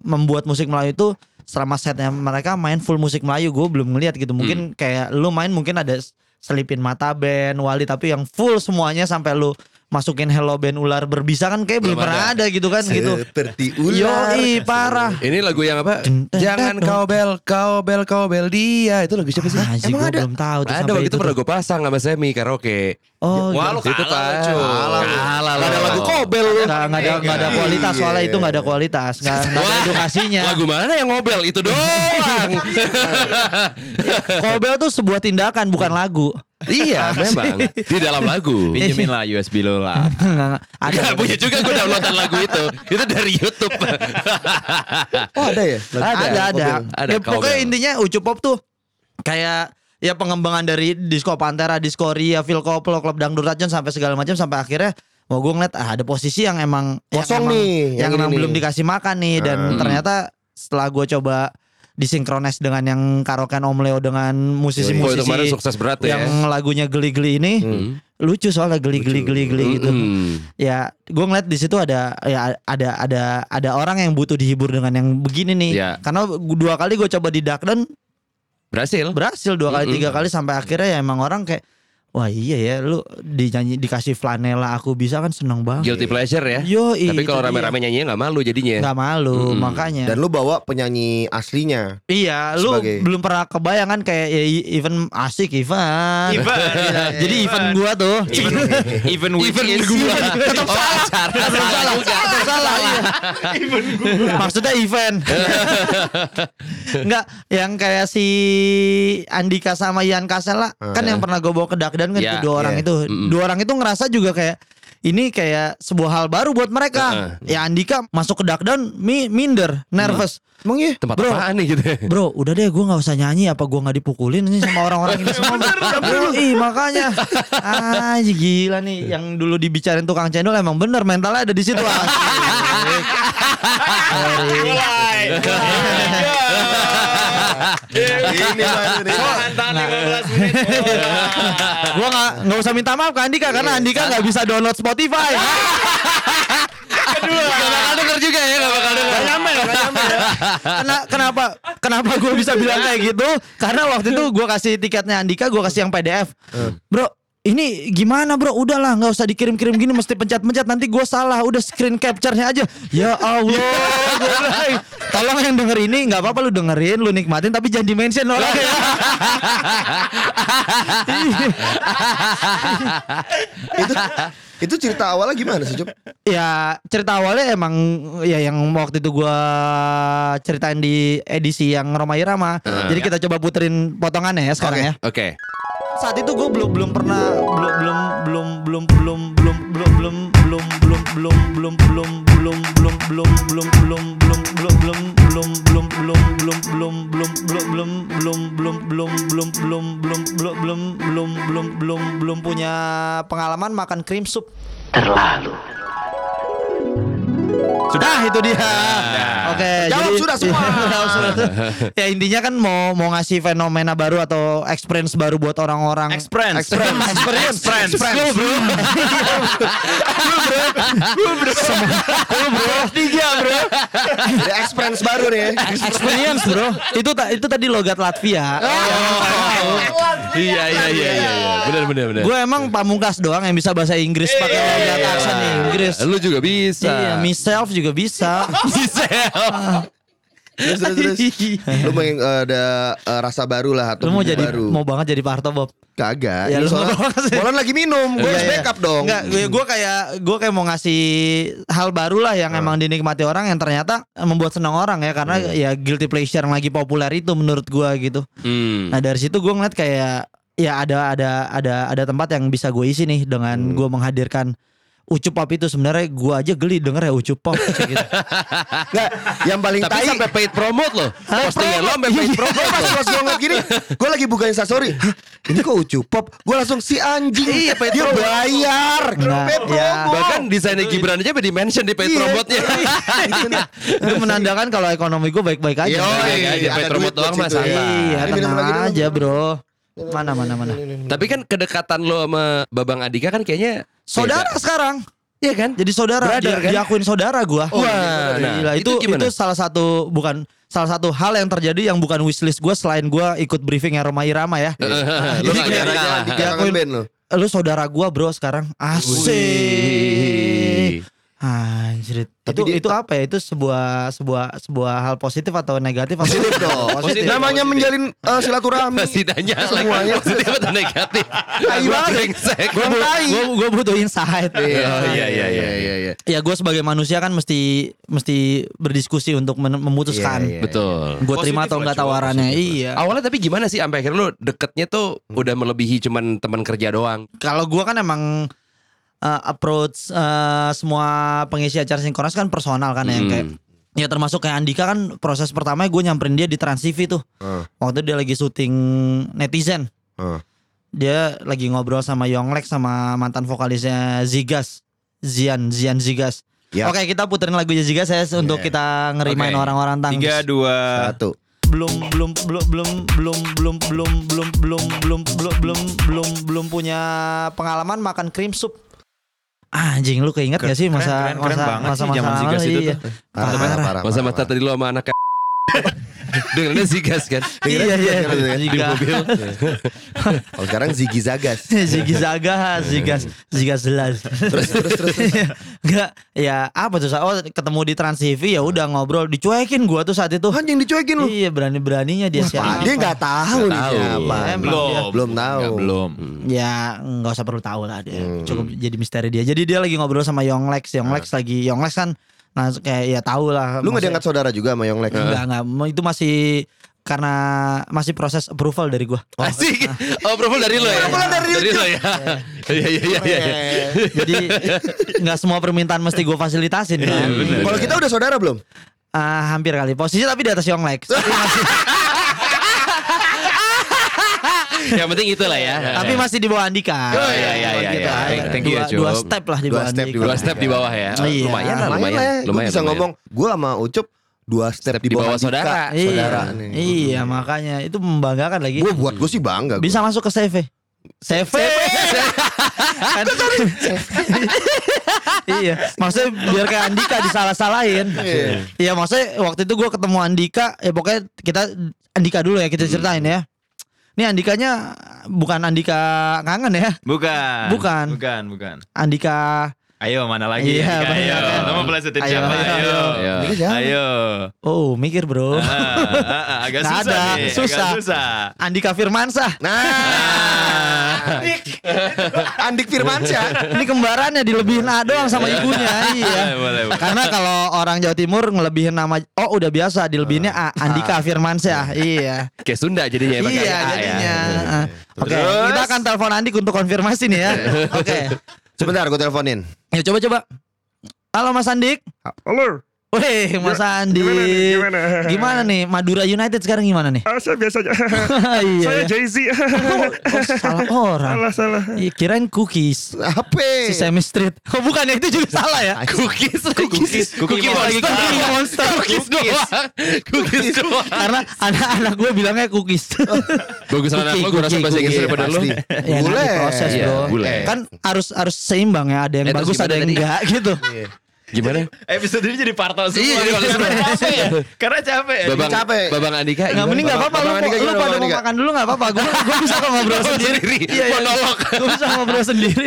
Speaker 5: membuat musik Melayu itu selama setnya mereka main full musik Melayu gue belum ngeliat gitu mungkin kayak lu main mungkin ada s- selipin mata band wali tapi yang full semuanya sampai lu masukin hello band ular berbisa kan kayak belum,
Speaker 3: Belum
Speaker 5: pernah ada. gitu kan
Speaker 2: Iya.
Speaker 5: gitu
Speaker 2: Seperti ular.
Speaker 5: Yoi parah
Speaker 3: Ini lagu yang apa?
Speaker 5: Dun, dun,
Speaker 3: Jangan
Speaker 5: dun,
Speaker 3: kau bel, kau bel, kau bel dia. Itu lagu siapa sih?
Speaker 5: Ah, sih,
Speaker 3: Emang
Speaker 5: gua
Speaker 3: ada?
Speaker 5: belum tahu tuh
Speaker 3: Ada
Speaker 5: sampai
Speaker 3: waktu itu
Speaker 5: itu
Speaker 3: pernah
Speaker 5: tuh.
Speaker 3: gue pasang sama Semi karaoke.
Speaker 5: oh
Speaker 3: Wah
Speaker 5: gitu.
Speaker 3: lu
Speaker 2: Itu
Speaker 3: kalah
Speaker 2: kan.
Speaker 3: cu.
Speaker 2: Kalah lu.
Speaker 3: Kalah lu.
Speaker 2: Gak ada lagu kobel lu.
Speaker 5: Nggak, nggak ada, nggak ada
Speaker 2: Iya.
Speaker 5: kualitas soalnya itu nggak ada kualitas nggak nggak ada
Speaker 3: Wah.
Speaker 5: edukasinya
Speaker 3: Lagu mana yang ngobel
Speaker 5: <laughs>
Speaker 3: itu doang.
Speaker 5: kobel tuh sebuah tindakan bukan lagu
Speaker 3: iya memang. Di dalam lagu.
Speaker 4: Pinjemin lah USB lo lah.
Speaker 5: Nggak, nggak. ada
Speaker 3: Gak punya juga gue downloadan lagu itu. Itu dari
Speaker 5: <laughs>
Speaker 3: YouTube.
Speaker 2: Oh ada ya?
Speaker 5: ada ada,
Speaker 3: Ada
Speaker 5: Ya,
Speaker 3: kobel.
Speaker 5: pokoknya intinya ucu pop tuh kayak ya pengembangan dari disco pantera disco ria Phil koplo klub dangdut racun sampai segala macam sampai akhirnya Wah gue ngeliat ah, ada posisi yang emang yang
Speaker 2: Kosong
Speaker 5: emang-
Speaker 2: nih, yang
Speaker 5: yang,
Speaker 2: ini
Speaker 5: emang
Speaker 2: nih.
Speaker 5: belum dikasih makan nih dan
Speaker 3: Ah.
Speaker 5: ternyata setelah gue coba disinkrones dengan yang karaokean Om Leo dengan
Speaker 3: Gue
Speaker 5: musisi-musisi
Speaker 3: kemarin sukses berat ya.
Speaker 5: yang lagunya geli-geli ini lucu soalnya geli-geli geli-geli gitu.
Speaker 3: Hmm.
Speaker 5: Ya, gue ngeliat di situ ada ya ada ada ada orang yang butuh dihibur dengan yang begini nih.
Speaker 3: Iya.
Speaker 5: Karena gua- dua kali gue coba di Darkden
Speaker 3: Berhasil.
Speaker 5: berhasil dua kali
Speaker 3: Mm-mm.
Speaker 5: tiga kali sampai akhirnya ya emang orang kayak wah iya ya lu dinyanyi dikasih flanela aku bisa kan seneng banget.
Speaker 3: Guilty pleasure ya.
Speaker 5: Yo,
Speaker 3: Tapi kalau rame-rame ya. Hmm, nyanyinya gak malu jadinya.
Speaker 5: nggak malu
Speaker 3: Mm-mm.
Speaker 5: makanya.
Speaker 2: Dan lu bawa penyanyi aslinya.
Speaker 5: iya, lu
Speaker 2: sebagai-
Speaker 5: belum pernah kebayangan kayak ya, even asik Ivan. Iya, Jadi Ivan gua Oh, tuh.
Speaker 4: Even with
Speaker 3: Even
Speaker 4: is
Speaker 3: gua.
Speaker 4: tetap salah. Tetap salah.
Speaker 5: Tetap salah, iya. Maksudnya <laughs> event. Enggak, yang kayak si Andika sama Ian Kasela kan yang pernah gue bawa ke Dakdan kan
Speaker 3: Ya,
Speaker 5: itu dua
Speaker 2: Ah.
Speaker 5: orang
Speaker 2: iya.
Speaker 5: itu.
Speaker 3: Mm-mm.
Speaker 5: Dua orang itu ngerasa juga kayak ini kayak sebuah hal baru buat mereka. Ya Andika masuk ke Dakdan mi- minder, nervous.
Speaker 2: Emang iya?
Speaker 3: Tempat
Speaker 5: Bro.
Speaker 3: apaan nih gitu.
Speaker 5: Bro, udah deh gue nggak usah nyanyi apa gue nggak dipukulin ini sama orang-orang ini semua. Bro, ih makanya. Ah, gila nih yang dulu dibicarain tukang cendol emang bener mentalnya ada di situ. Asik.
Speaker 6: Mulai.
Speaker 3: <laughs>
Speaker 2: <laughs>
Speaker 5: eh,
Speaker 2: Ini baru nih.
Speaker 6: Tahan-tahan 15 menit. Wah.
Speaker 5: Nah. Gua nggak nggak usah minta maaf ke Andika karena Andika nggak bisa download Spotify.
Speaker 6: Kedua.
Speaker 3: Gak bakal denger juga ya, gak bakal denger.
Speaker 5: Gak nyampe, gak nyampe. ya. Kena- kenapa kenapa gue bisa bilang kayak gitu? Karena waktu itu gue kasih tiketnya Andika, gue kasih yang PDF. Bro, ini gimana bro? Udahlah, nggak usah dikirim-kirim gini, mesti pencet-pencet nanti gue salah. Udah screen capture-nya aja. Ya Allah, gua bilang, tolong yang denger ini nggak apa-apa lu dengerin, lu nikmatin, tapi jangan di mention orang.
Speaker 2: Itu itu cerita awalnya gimana sih, Cup?
Speaker 5: Ya cerita awalnya emang ya yang waktu itu gua ceritain di edisi yang Roma Irama. Jadi kita coba puterin potongannya ya sekarang ya.
Speaker 3: Oke.
Speaker 5: Saat itu gue belum belum pernah belum belum belum belum belum belum belum belum belum belum belum belum belum belum belum belum belum belum belum belum belum belum belum belum belum belum belum belum belum belum belum belum belum belum belum belum belum belum belum belum punya pengalaman makan cream soup
Speaker 7: terlalu
Speaker 5: Sudah itu dia.
Speaker 3: Ah.
Speaker 5: Oke,
Speaker 2: Jawab
Speaker 5: Eh, jadi-
Speaker 2: sudah semua.
Speaker 5: <laughs> Jawab sudah. ya intinya kan mau mau ngasih fenomena baru atau experience baru buat orang-orang.
Speaker 6: Experience.
Speaker 5: Experience. Experience.
Speaker 6: Experience.
Speaker 5: Lu, bro. Lu, bro. Semua- Lu, bro. Tiga bro.
Speaker 2: Ada experience baru
Speaker 5: <laughs>
Speaker 2: nih.
Speaker 5: Experience bro. Itu ta- itu tadi logat Latvia.
Speaker 3: Iya, iya, iya, iya. iya. Bener, bener, bener.
Speaker 5: Gue Eh, emang pamungkas doang yang bisa bahasa Inggris pakai logat aksen Inggris.
Speaker 3: Lu juga bisa.
Speaker 5: Iya,
Speaker 3: <laughs>
Speaker 5: myself juga bisa.
Speaker 2: Terus terus terus. Lu mau yang, eh, ada eh, rasa baru lah atau
Speaker 5: Lu mau
Speaker 2: bumbu
Speaker 5: jadi
Speaker 2: baru.
Speaker 5: mau banget jadi Pak Harto Bob.
Speaker 2: kagak. Ini
Speaker 5: Ya, lu
Speaker 2: soalnya
Speaker 5: mau apa sih?
Speaker 2: Molan lagi minum, gue harus backup dong.
Speaker 5: Enggak, gue, gue kayak gue kayak mau ngasih hal baru lah yang emang dinikmati orang yang ternyata membuat senang orang ya karena ya guilty pleasure yang lagi populer itu menurut gue gitu.
Speaker 3: Hmm.
Speaker 5: Nah dari situ gue ngeliat kayak ya ada ada ada ada tempat yang bisa gue isi nih dengan gue menghadirkan ucup pop itu sebenarnya gue aja geli denger ya ucup pop kayak gitu.
Speaker 2: Enggak, yang paling
Speaker 3: Tapi
Speaker 2: tai
Speaker 3: sampai paid promote Iya, loh. Postingan lo sampai paid
Speaker 2: Gue
Speaker 3: promote
Speaker 2: pas
Speaker 3: loh.
Speaker 2: pas gue ngeliat gini Gue lagi buka instastory Hah ini kok ucu pop Gue langsung si anjing Iya Dia bayar iya.
Speaker 5: Nah,
Speaker 2: Pay promo.
Speaker 5: ya.
Speaker 3: Bahkan desainnya Gibran aja di mention di paid
Speaker 2: Iya.
Speaker 3: promote-nya.
Speaker 5: itu menandakan kalau ekonomi gue baik-baik aja.
Speaker 2: Iya,
Speaker 3: Baik-baik
Speaker 2: iya,
Speaker 3: aja,
Speaker 2: iya,
Speaker 3: paid
Speaker 2: ada
Speaker 3: promote
Speaker 2: duit
Speaker 3: doang
Speaker 2: buat
Speaker 3: mah
Speaker 2: situ, ya.
Speaker 3: santai.
Speaker 5: Iya,
Speaker 2: Ini minum
Speaker 5: tenang
Speaker 2: lagi, minum
Speaker 5: aja,
Speaker 2: lagi.
Speaker 5: Bro. Mana mana mana.
Speaker 3: <laughs> Tapi kan kedekatan lo sama Babang Adika kan kayaknya
Speaker 5: Saudara sekarang. Iya kan? Jadi saudara
Speaker 3: Brother,
Speaker 5: dia-
Speaker 3: kan?
Speaker 5: diakuin saudara gua.
Speaker 3: Oh, iya,
Speaker 5: Wah,
Speaker 3: saudara.
Speaker 5: gila.
Speaker 3: Itu
Speaker 5: Itu itu,
Speaker 3: gimana?
Speaker 5: salah satu bukan salah satu hal yang terjadi yang bukan wishlist gua selain gua ikut briefing ya Roma Irama
Speaker 3: Iya. <laughs>
Speaker 5: ya.
Speaker 3: beda. Lo
Speaker 5: Jadi
Speaker 3: gak nyangka.
Speaker 5: kayak-
Speaker 2: Jangan dikatakan
Speaker 5: Diakuin.
Speaker 2: band lo
Speaker 5: Lu saudara gua, Bro, sekarang. Asik. Anjir.
Speaker 2: Tapi
Speaker 5: Itu
Speaker 2: dia-
Speaker 5: itu apa ya? Itu sebuah sebuah sebuah hal positif atau negatif?
Speaker 2: Positif
Speaker 5: <laughs>
Speaker 2: dong
Speaker 3: Positif.
Speaker 2: Namanya menjalin eh, silaturahmi
Speaker 3: Pasti tanya
Speaker 2: Semuanya.
Speaker 3: positif atau negatif.
Speaker 2: Tai banget.
Speaker 3: Brengsek.
Speaker 5: Gue gue butuh <laughs> insight.
Speaker 3: Oh, iya, iya, iya, iya.
Speaker 2: iya.
Speaker 5: Nah, Ya gue sebagai manusia kan mesti mesti berdiskusi untuk men- memutuskan.
Speaker 2: Iya, iya.
Speaker 3: Betul.
Speaker 5: Gue terima atau enggak tawarannya. Iya.
Speaker 3: Awalnya tapi gimana sih sampai akhirnya lo deketnya tuh udah melebihi cuman teman kerja doang.
Speaker 5: kalau gua kan emang uh, approach uh, semua pengisi acara sinkronis kan personal kan ya
Speaker 4: Hmm.
Speaker 5: yang
Speaker 3: Hmm.
Speaker 5: kayak ya termasuk kayak Andika kan proses pertamanya gue nyamperin dia di Trans TV tuh
Speaker 2: Heeh.
Speaker 5: waktu dia lagi syuting netizen
Speaker 2: Heeh.
Speaker 5: dia lagi ngobrol sama Yonglek sama mantan vokalisnya Zigas Zian Zian Zigas
Speaker 2: Ya.
Speaker 5: Oke kita puterin lagunya Zigas saya untuk kita ngerimain
Speaker 4: Oke.
Speaker 5: orang-orang tentang
Speaker 4: Tiga dua.
Speaker 2: Satu
Speaker 5: belum belum belum belum belum belum belum belum belum belum belum belum belum belum punya pengalaman makan cream soup. Anjing lu keinget gak sih
Speaker 4: Keren,
Speaker 5: masa
Speaker 4: keren, keren
Speaker 5: masa
Speaker 4: banget
Speaker 5: masa
Speaker 4: sih zaman
Speaker 5: masa
Speaker 4: Zigas
Speaker 5: lalu,
Speaker 4: itu
Speaker 5: iya.
Speaker 4: tuh.
Speaker 2: Parah,
Speaker 5: Parah.
Speaker 2: parah, parah,
Speaker 3: Masa-masa
Speaker 2: parah.
Speaker 3: tadi lo sama anak <laughs> Dengarnya Zigas kan.
Speaker 5: Iya iya.
Speaker 3: Di mobil.
Speaker 2: Kalau sekarang Ziggy Zagas
Speaker 4: <laughs>
Speaker 5: Zigi Zagas, Zigas,
Speaker 4: Iya.
Speaker 5: Zigas jelas. Terus terus <laughs> terus. Enggak, ya apa tuh? Oh, ketemu di Trans TV ya udah ngobrol, dicuekin gua tuh saat itu.
Speaker 2: Anjing dicuekin lu
Speaker 5: Iya, berani-beraninya dia siapa.
Speaker 2: Dia gak tahu nih
Speaker 3: tahu.
Speaker 2: siapa
Speaker 5: Emang dia-
Speaker 2: Belum tahu
Speaker 4: Belum.
Speaker 5: Ya
Speaker 3: Hmm.
Speaker 5: nggak
Speaker 3: Ah.
Speaker 5: usah perlu tahu lah dia. Cukup jadi misteri dia. Jadi dia lagi ngobrol sama Yonglex. Yonglex lagi Yonglex kan Nah kayak ya tahu lah.
Speaker 2: Lu nggak
Speaker 5: maksudnya-
Speaker 2: diangkat saudara juga sama Yonglek? Iya.
Speaker 5: Enggak enggak itu masih karena masih proses approval dari gua.
Speaker 3: Asik.
Speaker 5: Ah.
Speaker 3: Oh, profil dari lo ya.
Speaker 2: Profil dari
Speaker 3: lo ya. <laughs> Iya iya iya iya.
Speaker 5: Jadi nggak semua permintaan mesti gua fasilitasin kan.
Speaker 3: Iya, bener.
Speaker 2: Kalau kita udah saudara belum?
Speaker 5: Ah, hampir kali. Posisinya tapi di atas Young
Speaker 3: <laughs>
Speaker 5: Lex. Tapi
Speaker 3: Iya,
Speaker 5: masih,
Speaker 3: Yang penting itulah ya.
Speaker 5: <laughs> tapi masih di bawah Andika.
Speaker 3: Oh, iya, iya, iya,
Speaker 5: Gitu
Speaker 3: iya.
Speaker 5: aja.
Speaker 3: Thank- thank you
Speaker 5: dua,
Speaker 3: ya, Cuk.
Speaker 5: dua step lah di
Speaker 2: Dua
Speaker 5: bawah
Speaker 2: step
Speaker 5: Andika.
Speaker 2: di
Speaker 3: dua step di bawah ya. Oh,
Speaker 5: Iya.
Speaker 3: Lumayan lah,
Speaker 2: Lumayan
Speaker 3: lumayan.
Speaker 2: lah ya. Gua
Speaker 3: Lumayan.
Speaker 2: bisa
Speaker 3: lumayan.
Speaker 2: ngomong gue sama Ucup dua step di bawah,
Speaker 3: saudara.
Speaker 5: Iya,
Speaker 2: Saudara nih.
Speaker 5: iya makanya itu membanggakan lagi.
Speaker 2: Gue buat gue sih bangga. gua.
Speaker 5: Bisa masuk ke CV. CV. <laughs> Kan- iya, maksudnya biar kayak Andika disalah-salahin.
Speaker 2: Iya.
Speaker 5: Iya, maksudnya waktu itu gua ketemu Andika, ya pokoknya kita Andika dulu ya kita ceritain ya. Ini Andikanya bukan Andika kangen ya,
Speaker 4: Bukan.
Speaker 5: Bukan.
Speaker 4: Bukan, bukan.
Speaker 5: Andika
Speaker 4: Ayo mana lagi?
Speaker 5: Iya,
Speaker 4: Andika,
Speaker 5: banyak
Speaker 4: ayo.
Speaker 5: kan.
Speaker 4: Lo mau pelesetin
Speaker 5: Ayo,
Speaker 4: siapa?
Speaker 5: ayo,
Speaker 4: Ayo. Iya.
Speaker 3: ayo.
Speaker 2: Ini siapa?
Speaker 4: Ayo.
Speaker 5: Oh, mikir
Speaker 4: Ah,
Speaker 5: bro.
Speaker 4: ah, ah, agak
Speaker 5: Nggak
Speaker 4: susah
Speaker 5: ada,
Speaker 4: nih. agak
Speaker 5: susah.
Speaker 4: susah.
Speaker 5: Andika Firmansyah.
Speaker 2: Nah, <laughs> Andik Firmansyah.
Speaker 5: Ini kembarannya dilebihin A doang sama <laughs> ibunya. Iya.
Speaker 4: Boleh, boleh.
Speaker 5: Karena kalau orang Jawa Timur ngelebihin nama oh udah biasa dilebihinnya A Andika Firmansyah. Ah. <laughs> Iya.
Speaker 3: Kayak Sunda jadinya ya. pakai A
Speaker 5: iya
Speaker 3: ya.
Speaker 5: jadinya. Ah. Oke, kita akan telepon Andik untuk konfirmasi nih ya. <laughs> Oke.
Speaker 2: Sebentar gue teleponin.
Speaker 5: Ya coba coba. Halo Mas Andik.
Speaker 7: Halo,
Speaker 5: Weh, Mas Andik.
Speaker 7: Ya, gimana nih? Gimana? <laughs>
Speaker 5: Gimana nih? Madura United sekarang gimana nih?
Speaker 7: Ah, saya biasa aja.
Speaker 5: <laughs> iya.
Speaker 7: saya
Speaker 5: ya.
Speaker 7: Jay Z.
Speaker 5: Oh, oh,
Speaker 7: <laughs>
Speaker 5: salah orang.
Speaker 7: salah salah. Eh.
Speaker 5: Iya, kirain cookies.
Speaker 2: Apa?
Speaker 5: Si Semi Street. Oh bukan ya itu juga salah ya.
Speaker 3: Cookies, cookies, cookies,
Speaker 5: Cookies
Speaker 3: monster,
Speaker 5: Cookie monster.
Speaker 3: cookies doang, cookies doang.
Speaker 5: Karena anak-anak gue bilangnya cookies.
Speaker 3: Bagus anak
Speaker 5: Cookie,
Speaker 3: lo, gue rasa
Speaker 5: cookie,
Speaker 3: bahasa Inggris
Speaker 5: cookie.
Speaker 3: daripada lo.
Speaker 2: Iya, Pasti.
Speaker 5: ya nanti proses
Speaker 3: Iya,
Speaker 5: bro.
Speaker 3: boleh.
Speaker 5: Kan harus harus seimbang ya. Ada yang
Speaker 3: Eh, terus
Speaker 5: bagus ada
Speaker 3: gimana
Speaker 5: yang
Speaker 3: tadi?
Speaker 5: enggak gitu.
Speaker 3: Gimana?
Speaker 4: Episode ini jadi parto semua.
Speaker 3: Iya, jadi parto semua.
Speaker 4: Capek ya? Karena capek. ya?
Speaker 3: Babang,
Speaker 2: capek.
Speaker 3: Babang Andika.
Speaker 5: Nggak mending nggak apa-apa lu,
Speaker 2: Bapak Andika
Speaker 5: lu
Speaker 2: gimana,
Speaker 5: pada
Speaker 2: Bapak
Speaker 5: mau
Speaker 2: Andika?
Speaker 5: makan dulu nggak apa-apa. Gue gue bisa kok
Speaker 3: <laughs>
Speaker 5: ngobrol sendiri. Iya, iya.
Speaker 3: Monolog.
Speaker 5: Gue bisa ngobrol sendiri.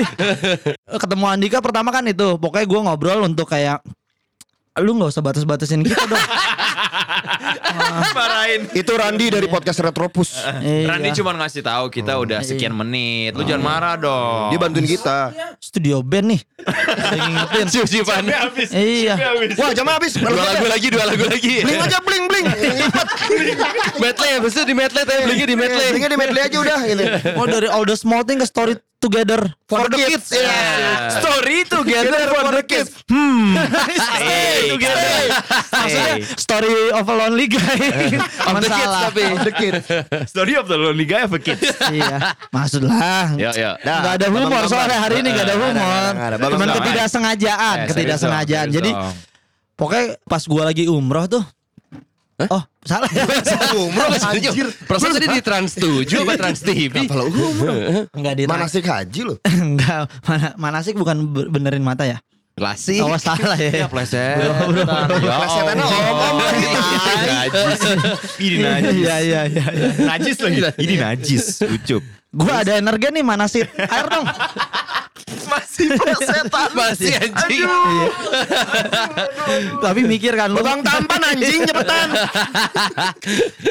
Speaker 5: Eh, Ketemu Andika pertama kan itu. Pokoknya gue ngobrol untuk kayak lu nggak usah batas-batasin kita dong.
Speaker 4: Marahin.
Speaker 2: Itu Randi dari podcast Retropus.
Speaker 5: Iya.
Speaker 4: Randi cuma ngasih tahu kita
Speaker 3: Oh,
Speaker 4: udah
Speaker 3: iya.
Speaker 4: sekian menit. Lu jangan marah dong.
Speaker 2: Dia bantuin kita.
Speaker 5: studio band nih. Ada yang ngingetin.
Speaker 3: Cium-ciuman.
Speaker 5: Iya.
Speaker 2: Wah jam habis.
Speaker 3: Dua lagu lagi, dua lagu lagi.
Speaker 2: Bling aja bling bling.
Speaker 3: Medley, habis itu di medley, tapi blinknya di medley.
Speaker 2: Blinknya di medley aja udah gitu.
Speaker 5: Oh dari all the small thing ke story together for, the kids.
Speaker 2: Iya.
Speaker 4: Story together for the kids. Hmm.
Speaker 5: <laughs> Stay together. Maksudnya story of a lonely
Speaker 4: <laughs>
Speaker 5: guy. Of
Speaker 3: the kids tapi.
Speaker 2: The kids.
Speaker 4: Story of the lonely guy for
Speaker 1: <laughs>
Speaker 4: kids.
Speaker 5: Iya. Maksudlah.
Speaker 3: Ya, ya.
Speaker 2: Nah,
Speaker 5: Gak ada humor
Speaker 2: Bambang,
Speaker 5: soalnya hari ini
Speaker 4: Nah,
Speaker 5: gak ada
Speaker 2: Nggak ada, nggak
Speaker 5: humor.
Speaker 2: ada, nggak ada. Bambang,
Speaker 5: Cuman
Speaker 2: Bambang.
Speaker 5: ketidaksengajaan,
Speaker 3: Eh,
Speaker 5: ketidaksengajaan.
Speaker 3: serius
Speaker 5: Jadi
Speaker 3: dong, serius
Speaker 5: pokoknya pas gua lagi umroh tuh. Oh,
Speaker 3: <laughs>
Speaker 5: salah ya.
Speaker 2: Umroh
Speaker 3: dong.
Speaker 2: anjir.
Speaker 3: Proses tadi di Trans 7 apa Trans TV?
Speaker 2: Kenapa lo umroh?
Speaker 5: Enggak di <laughs>
Speaker 2: Manasik haji lo.
Speaker 5: Enggak, mana manasik bukan be- benerin mata ya?
Speaker 3: Lasi.
Speaker 5: Oh, salah
Speaker 3: Iya,
Speaker 5: ya.
Speaker 3: pleset.
Speaker 5: Bro, bro.
Speaker 2: Plesetannya om-om lagi.
Speaker 4: Ini
Speaker 5: <laughs> Iya, iya, iya. iya.
Speaker 4: Najis lagi. Ini najis. Ucup.
Speaker 5: Gua ada energi nih manasik. Air dong.
Speaker 3: Masih plesetan. Masih anjing.
Speaker 5: Tapi mikir kan lu.
Speaker 2: Bang tampan anjing cepetan.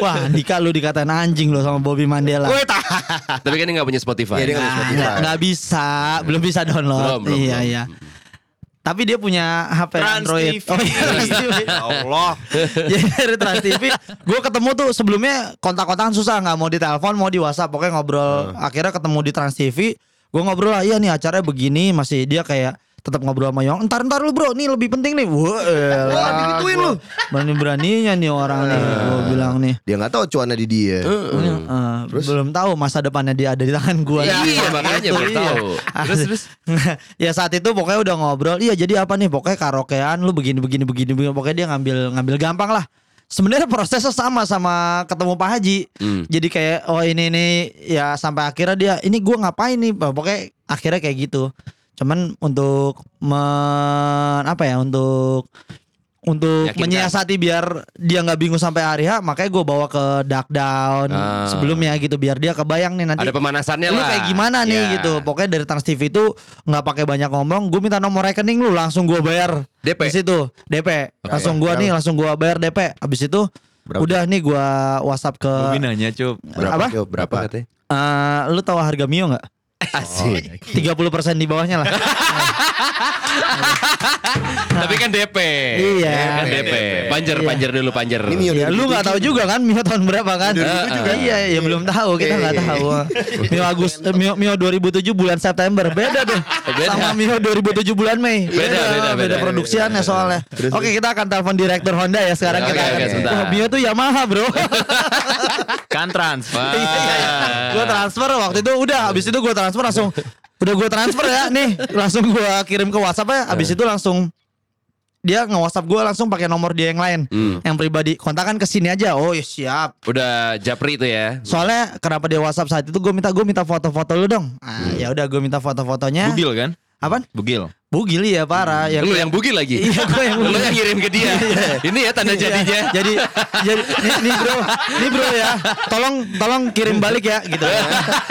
Speaker 5: Wah, Andika lu dikatain anjing lo sama Bobby Mandela.
Speaker 3: Tapi kan dia gak punya Spotify.
Speaker 2: Iya, dia nggak-
Speaker 5: Ah,
Speaker 2: Spotify.
Speaker 5: nggak nggak bisa, belum bisa download.
Speaker 3: Hmm. Belum, belum,
Speaker 5: iya
Speaker 3: belum.
Speaker 5: iya. Tapi dia punya HP
Speaker 4: Trans
Speaker 5: Android.
Speaker 4: TV.
Speaker 5: Oh, iya,
Speaker 4: <laughs>
Speaker 5: Trans TV.
Speaker 4: Allah.
Speaker 5: <laughs> Jadi dari Trans TV, gue ketemu tuh sebelumnya kontak-kontakan susah nggak mau di telepon, mau di WhatsApp, pokoknya
Speaker 3: Hmm.
Speaker 5: ngobrol. Akhirnya ketemu di Trans TV, gue ngobrol lah, iya nih acaranya begini, masih dia kayak tetap ngobrol sama Yong. Ntar ntar lu bro, nih lebih penting nih.
Speaker 3: <laughs>
Speaker 5: Wah, digituin lu. Berani beraninya nih orang nih, gue bilang nih.
Speaker 2: Dia nggak tahu cuannya di dia.
Speaker 5: Eh, belum tahu masa depannya dia ada di tangan gua.
Speaker 3: Iya, Ah.
Speaker 5: Gitu.
Speaker 3: makanya baru
Speaker 5: Iya.
Speaker 3: tahu. Terus,
Speaker 5: Asli.
Speaker 3: terus?
Speaker 5: <laughs> ya saat itu pokoknya udah ngobrol. Iya jadi apa nih? Pokoknya karaokean lu begini begini begini begini. Pokoknya dia ngambil ngambil gampang lah. Sebenarnya prosesnya sama sama ketemu Pak Haji.
Speaker 3: Hmm.
Speaker 5: Jadi kayak oh ini ini ya sampai akhirnya dia ini gua ngapain nih? Pokoknya akhirnya kayak gitu. Cuman untuk men apa ya untuk untuk
Speaker 3: Meyakinkan.
Speaker 5: menyiasati biar dia nggak bingung sampai hari H, makanya gue bawa ke dark down
Speaker 3: Ah.
Speaker 5: sebelumnya gitu biar dia kebayang nih nanti
Speaker 3: Ada pemanasannya
Speaker 5: lu
Speaker 3: lah.
Speaker 5: kayak gimana nih
Speaker 3: Iya.
Speaker 5: gitu. Pokoknya dari Trans TV itu nggak pakai banyak ngomong, gue minta nomor rekening lu langsung gue bayar
Speaker 3: DP.
Speaker 5: di situ DP. Langsung gue nih langsung gue bayar DP. Abis itu
Speaker 2: Berapa?
Speaker 5: udah nih gue WhatsApp ke
Speaker 4: Bobby nanya cup.
Speaker 2: Berapa?
Speaker 5: apa?
Speaker 2: Yo, berapa? <laughs>
Speaker 5: Eh, lu tahu harga Mio nggak? Asik. 30% di bawahnya lah. <laughs>
Speaker 3: Tapi kan DP.
Speaker 5: Iya.
Speaker 3: Kan DP. Panjer,
Speaker 5: Iya.
Speaker 3: panjer dulu, panjer.
Speaker 2: Ini Mio
Speaker 5: Ya, lu nggak tahu juga kan Mio tahun berapa kan? Iya, ya belum tahu kita nggak
Speaker 2: Iya,
Speaker 5: tahu. Mio Agus eh, Mio Mio 2007 bulan September beda tuh.
Speaker 3: Beda.
Speaker 5: Sama Mio 2007 bulan Mei.
Speaker 3: Beda, beda, beda.
Speaker 5: produksiannya soalnya. Oke, kita akan telepon direktur Honda ya sekarang
Speaker 3: Oke,
Speaker 5: kita.
Speaker 3: oke,
Speaker 5: akan-
Speaker 3: sebentar.
Speaker 5: Wah, Mio tuh Yamaha,
Speaker 3: <laughs>
Speaker 5: Bro.
Speaker 4: kan transfer.
Speaker 5: Iya, gue transfer waktu itu udah habis itu gue transfer langsung udah gue transfer ya nih langsung gue kirim ke WhatsApp ya habis
Speaker 3: Iya.
Speaker 5: itu langsung dia nge WhatsApp gue langsung pakai nomor dia yang lain
Speaker 3: Hmm.
Speaker 5: yang pribadi kontakan ke sini aja oh ya siap
Speaker 3: Udah Japri itu ya.
Speaker 5: soalnya kenapa dia WhatsApp saat itu gue minta gue minta foto-foto lu dong ah, ya udah gue minta foto-fotonya
Speaker 4: Bugil kan?
Speaker 5: Apaan?
Speaker 4: Bugil.
Speaker 5: bugil ya parah ya
Speaker 3: Lu yang bugil lagi.
Speaker 5: Iya, gua yang
Speaker 3: Lu
Speaker 5: bugil.
Speaker 3: yang ngirim ke dia. Ini ya tanda jadinya.
Speaker 5: Iya, jadi jadi nih, nih bro nih bro ya tolong tolong kirim balik ya gitu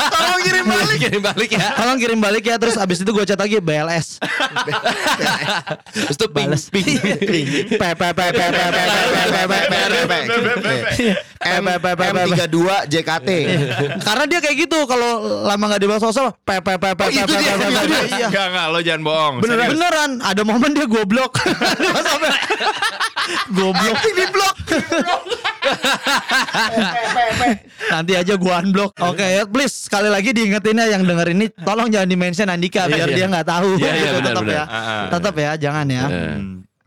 Speaker 3: Tolong kirim <laughs> balik. Kirim balik ya.
Speaker 5: tolong kirim balik ya terus abis itu gue chat lagi BLS
Speaker 3: Terus tuh ping,
Speaker 5: Bales.
Speaker 3: ping.
Speaker 2: M32 JKT.
Speaker 3: Iya.
Speaker 5: Karena dia kayak gitu kalau lama nggak dibahas sosok pe pe pe pe
Speaker 3: Oh,
Speaker 5: pe pe pe pe, pe. Iya.
Speaker 4: Enggak enggak lo jangan bohong.
Speaker 5: Beneran, beneran ada momen dia
Speaker 3: <laughs>
Speaker 5: goblok. Sampai- goblok di blok. Nanti aja gua unblock.
Speaker 3: Iya.
Speaker 5: Oke, ya, please sekali lagi diingetinnya yang denger ini tolong jangan di-mention Andika biar
Speaker 3: iya.
Speaker 5: dia nggak tahu.
Speaker 3: Iya, iya, benar,
Speaker 5: tetap ya.
Speaker 3: benar.
Speaker 5: Tetap ya, jangan ya.
Speaker 3: Eh,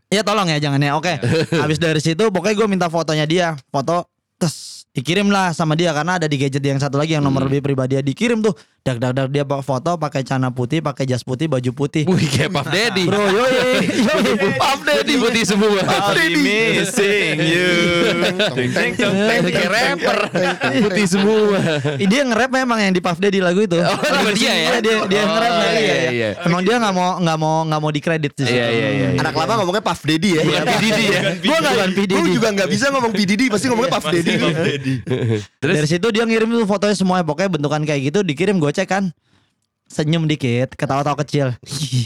Speaker 5: Ya tolong ya jangan
Speaker 3: <laughs>
Speaker 5: ya. Oke. Habis dari situ pokoknya gue minta fotonya dia. Foto terus dikirim lah sama dia karena ada di gadget yang satu lagi yang nomor
Speaker 3: Hmm.
Speaker 5: lebih pribadi dia dikirim tuh. Dak dak dak dia bawa foto pakai celana putih, pakai jas putih, baju putih.
Speaker 3: Wih kayak Puff Daddy.
Speaker 5: Bro, yo
Speaker 3: Puff Daddy putih semua.
Speaker 4: Be missing you. Ting, ting, tong, ting, ting.
Speaker 3: Kayak rapper. Putih semua.
Speaker 5: dia nge-rap memang yang di Puff Daddy lagu itu.
Speaker 3: Oh, sama dia ya?
Speaker 5: Iya, dia, dia
Speaker 3: Oh,
Speaker 5: nge-rap ya, iya,
Speaker 3: iya,
Speaker 5: iya.
Speaker 3: iya.
Speaker 5: Emang dia nggak mau nggak mau nggak mau dikredit sih.
Speaker 3: Iya, iya, iya.
Speaker 2: Anak lama ngomongnya Puff Daddy ya.
Speaker 5: Bukan P. Diddy ya? Gua nggak bukan P. Diddy.
Speaker 2: Gue juga nggak bisa ngomong P Diddy, pasti ngomongnya Puff Daddy.
Speaker 5: Dari situ dia ngirim tuh fotonya semuanya pokoknya bentukan kayak gitu dikirim gue cek kan. Senyum dikit, ketawa-tawa kecil.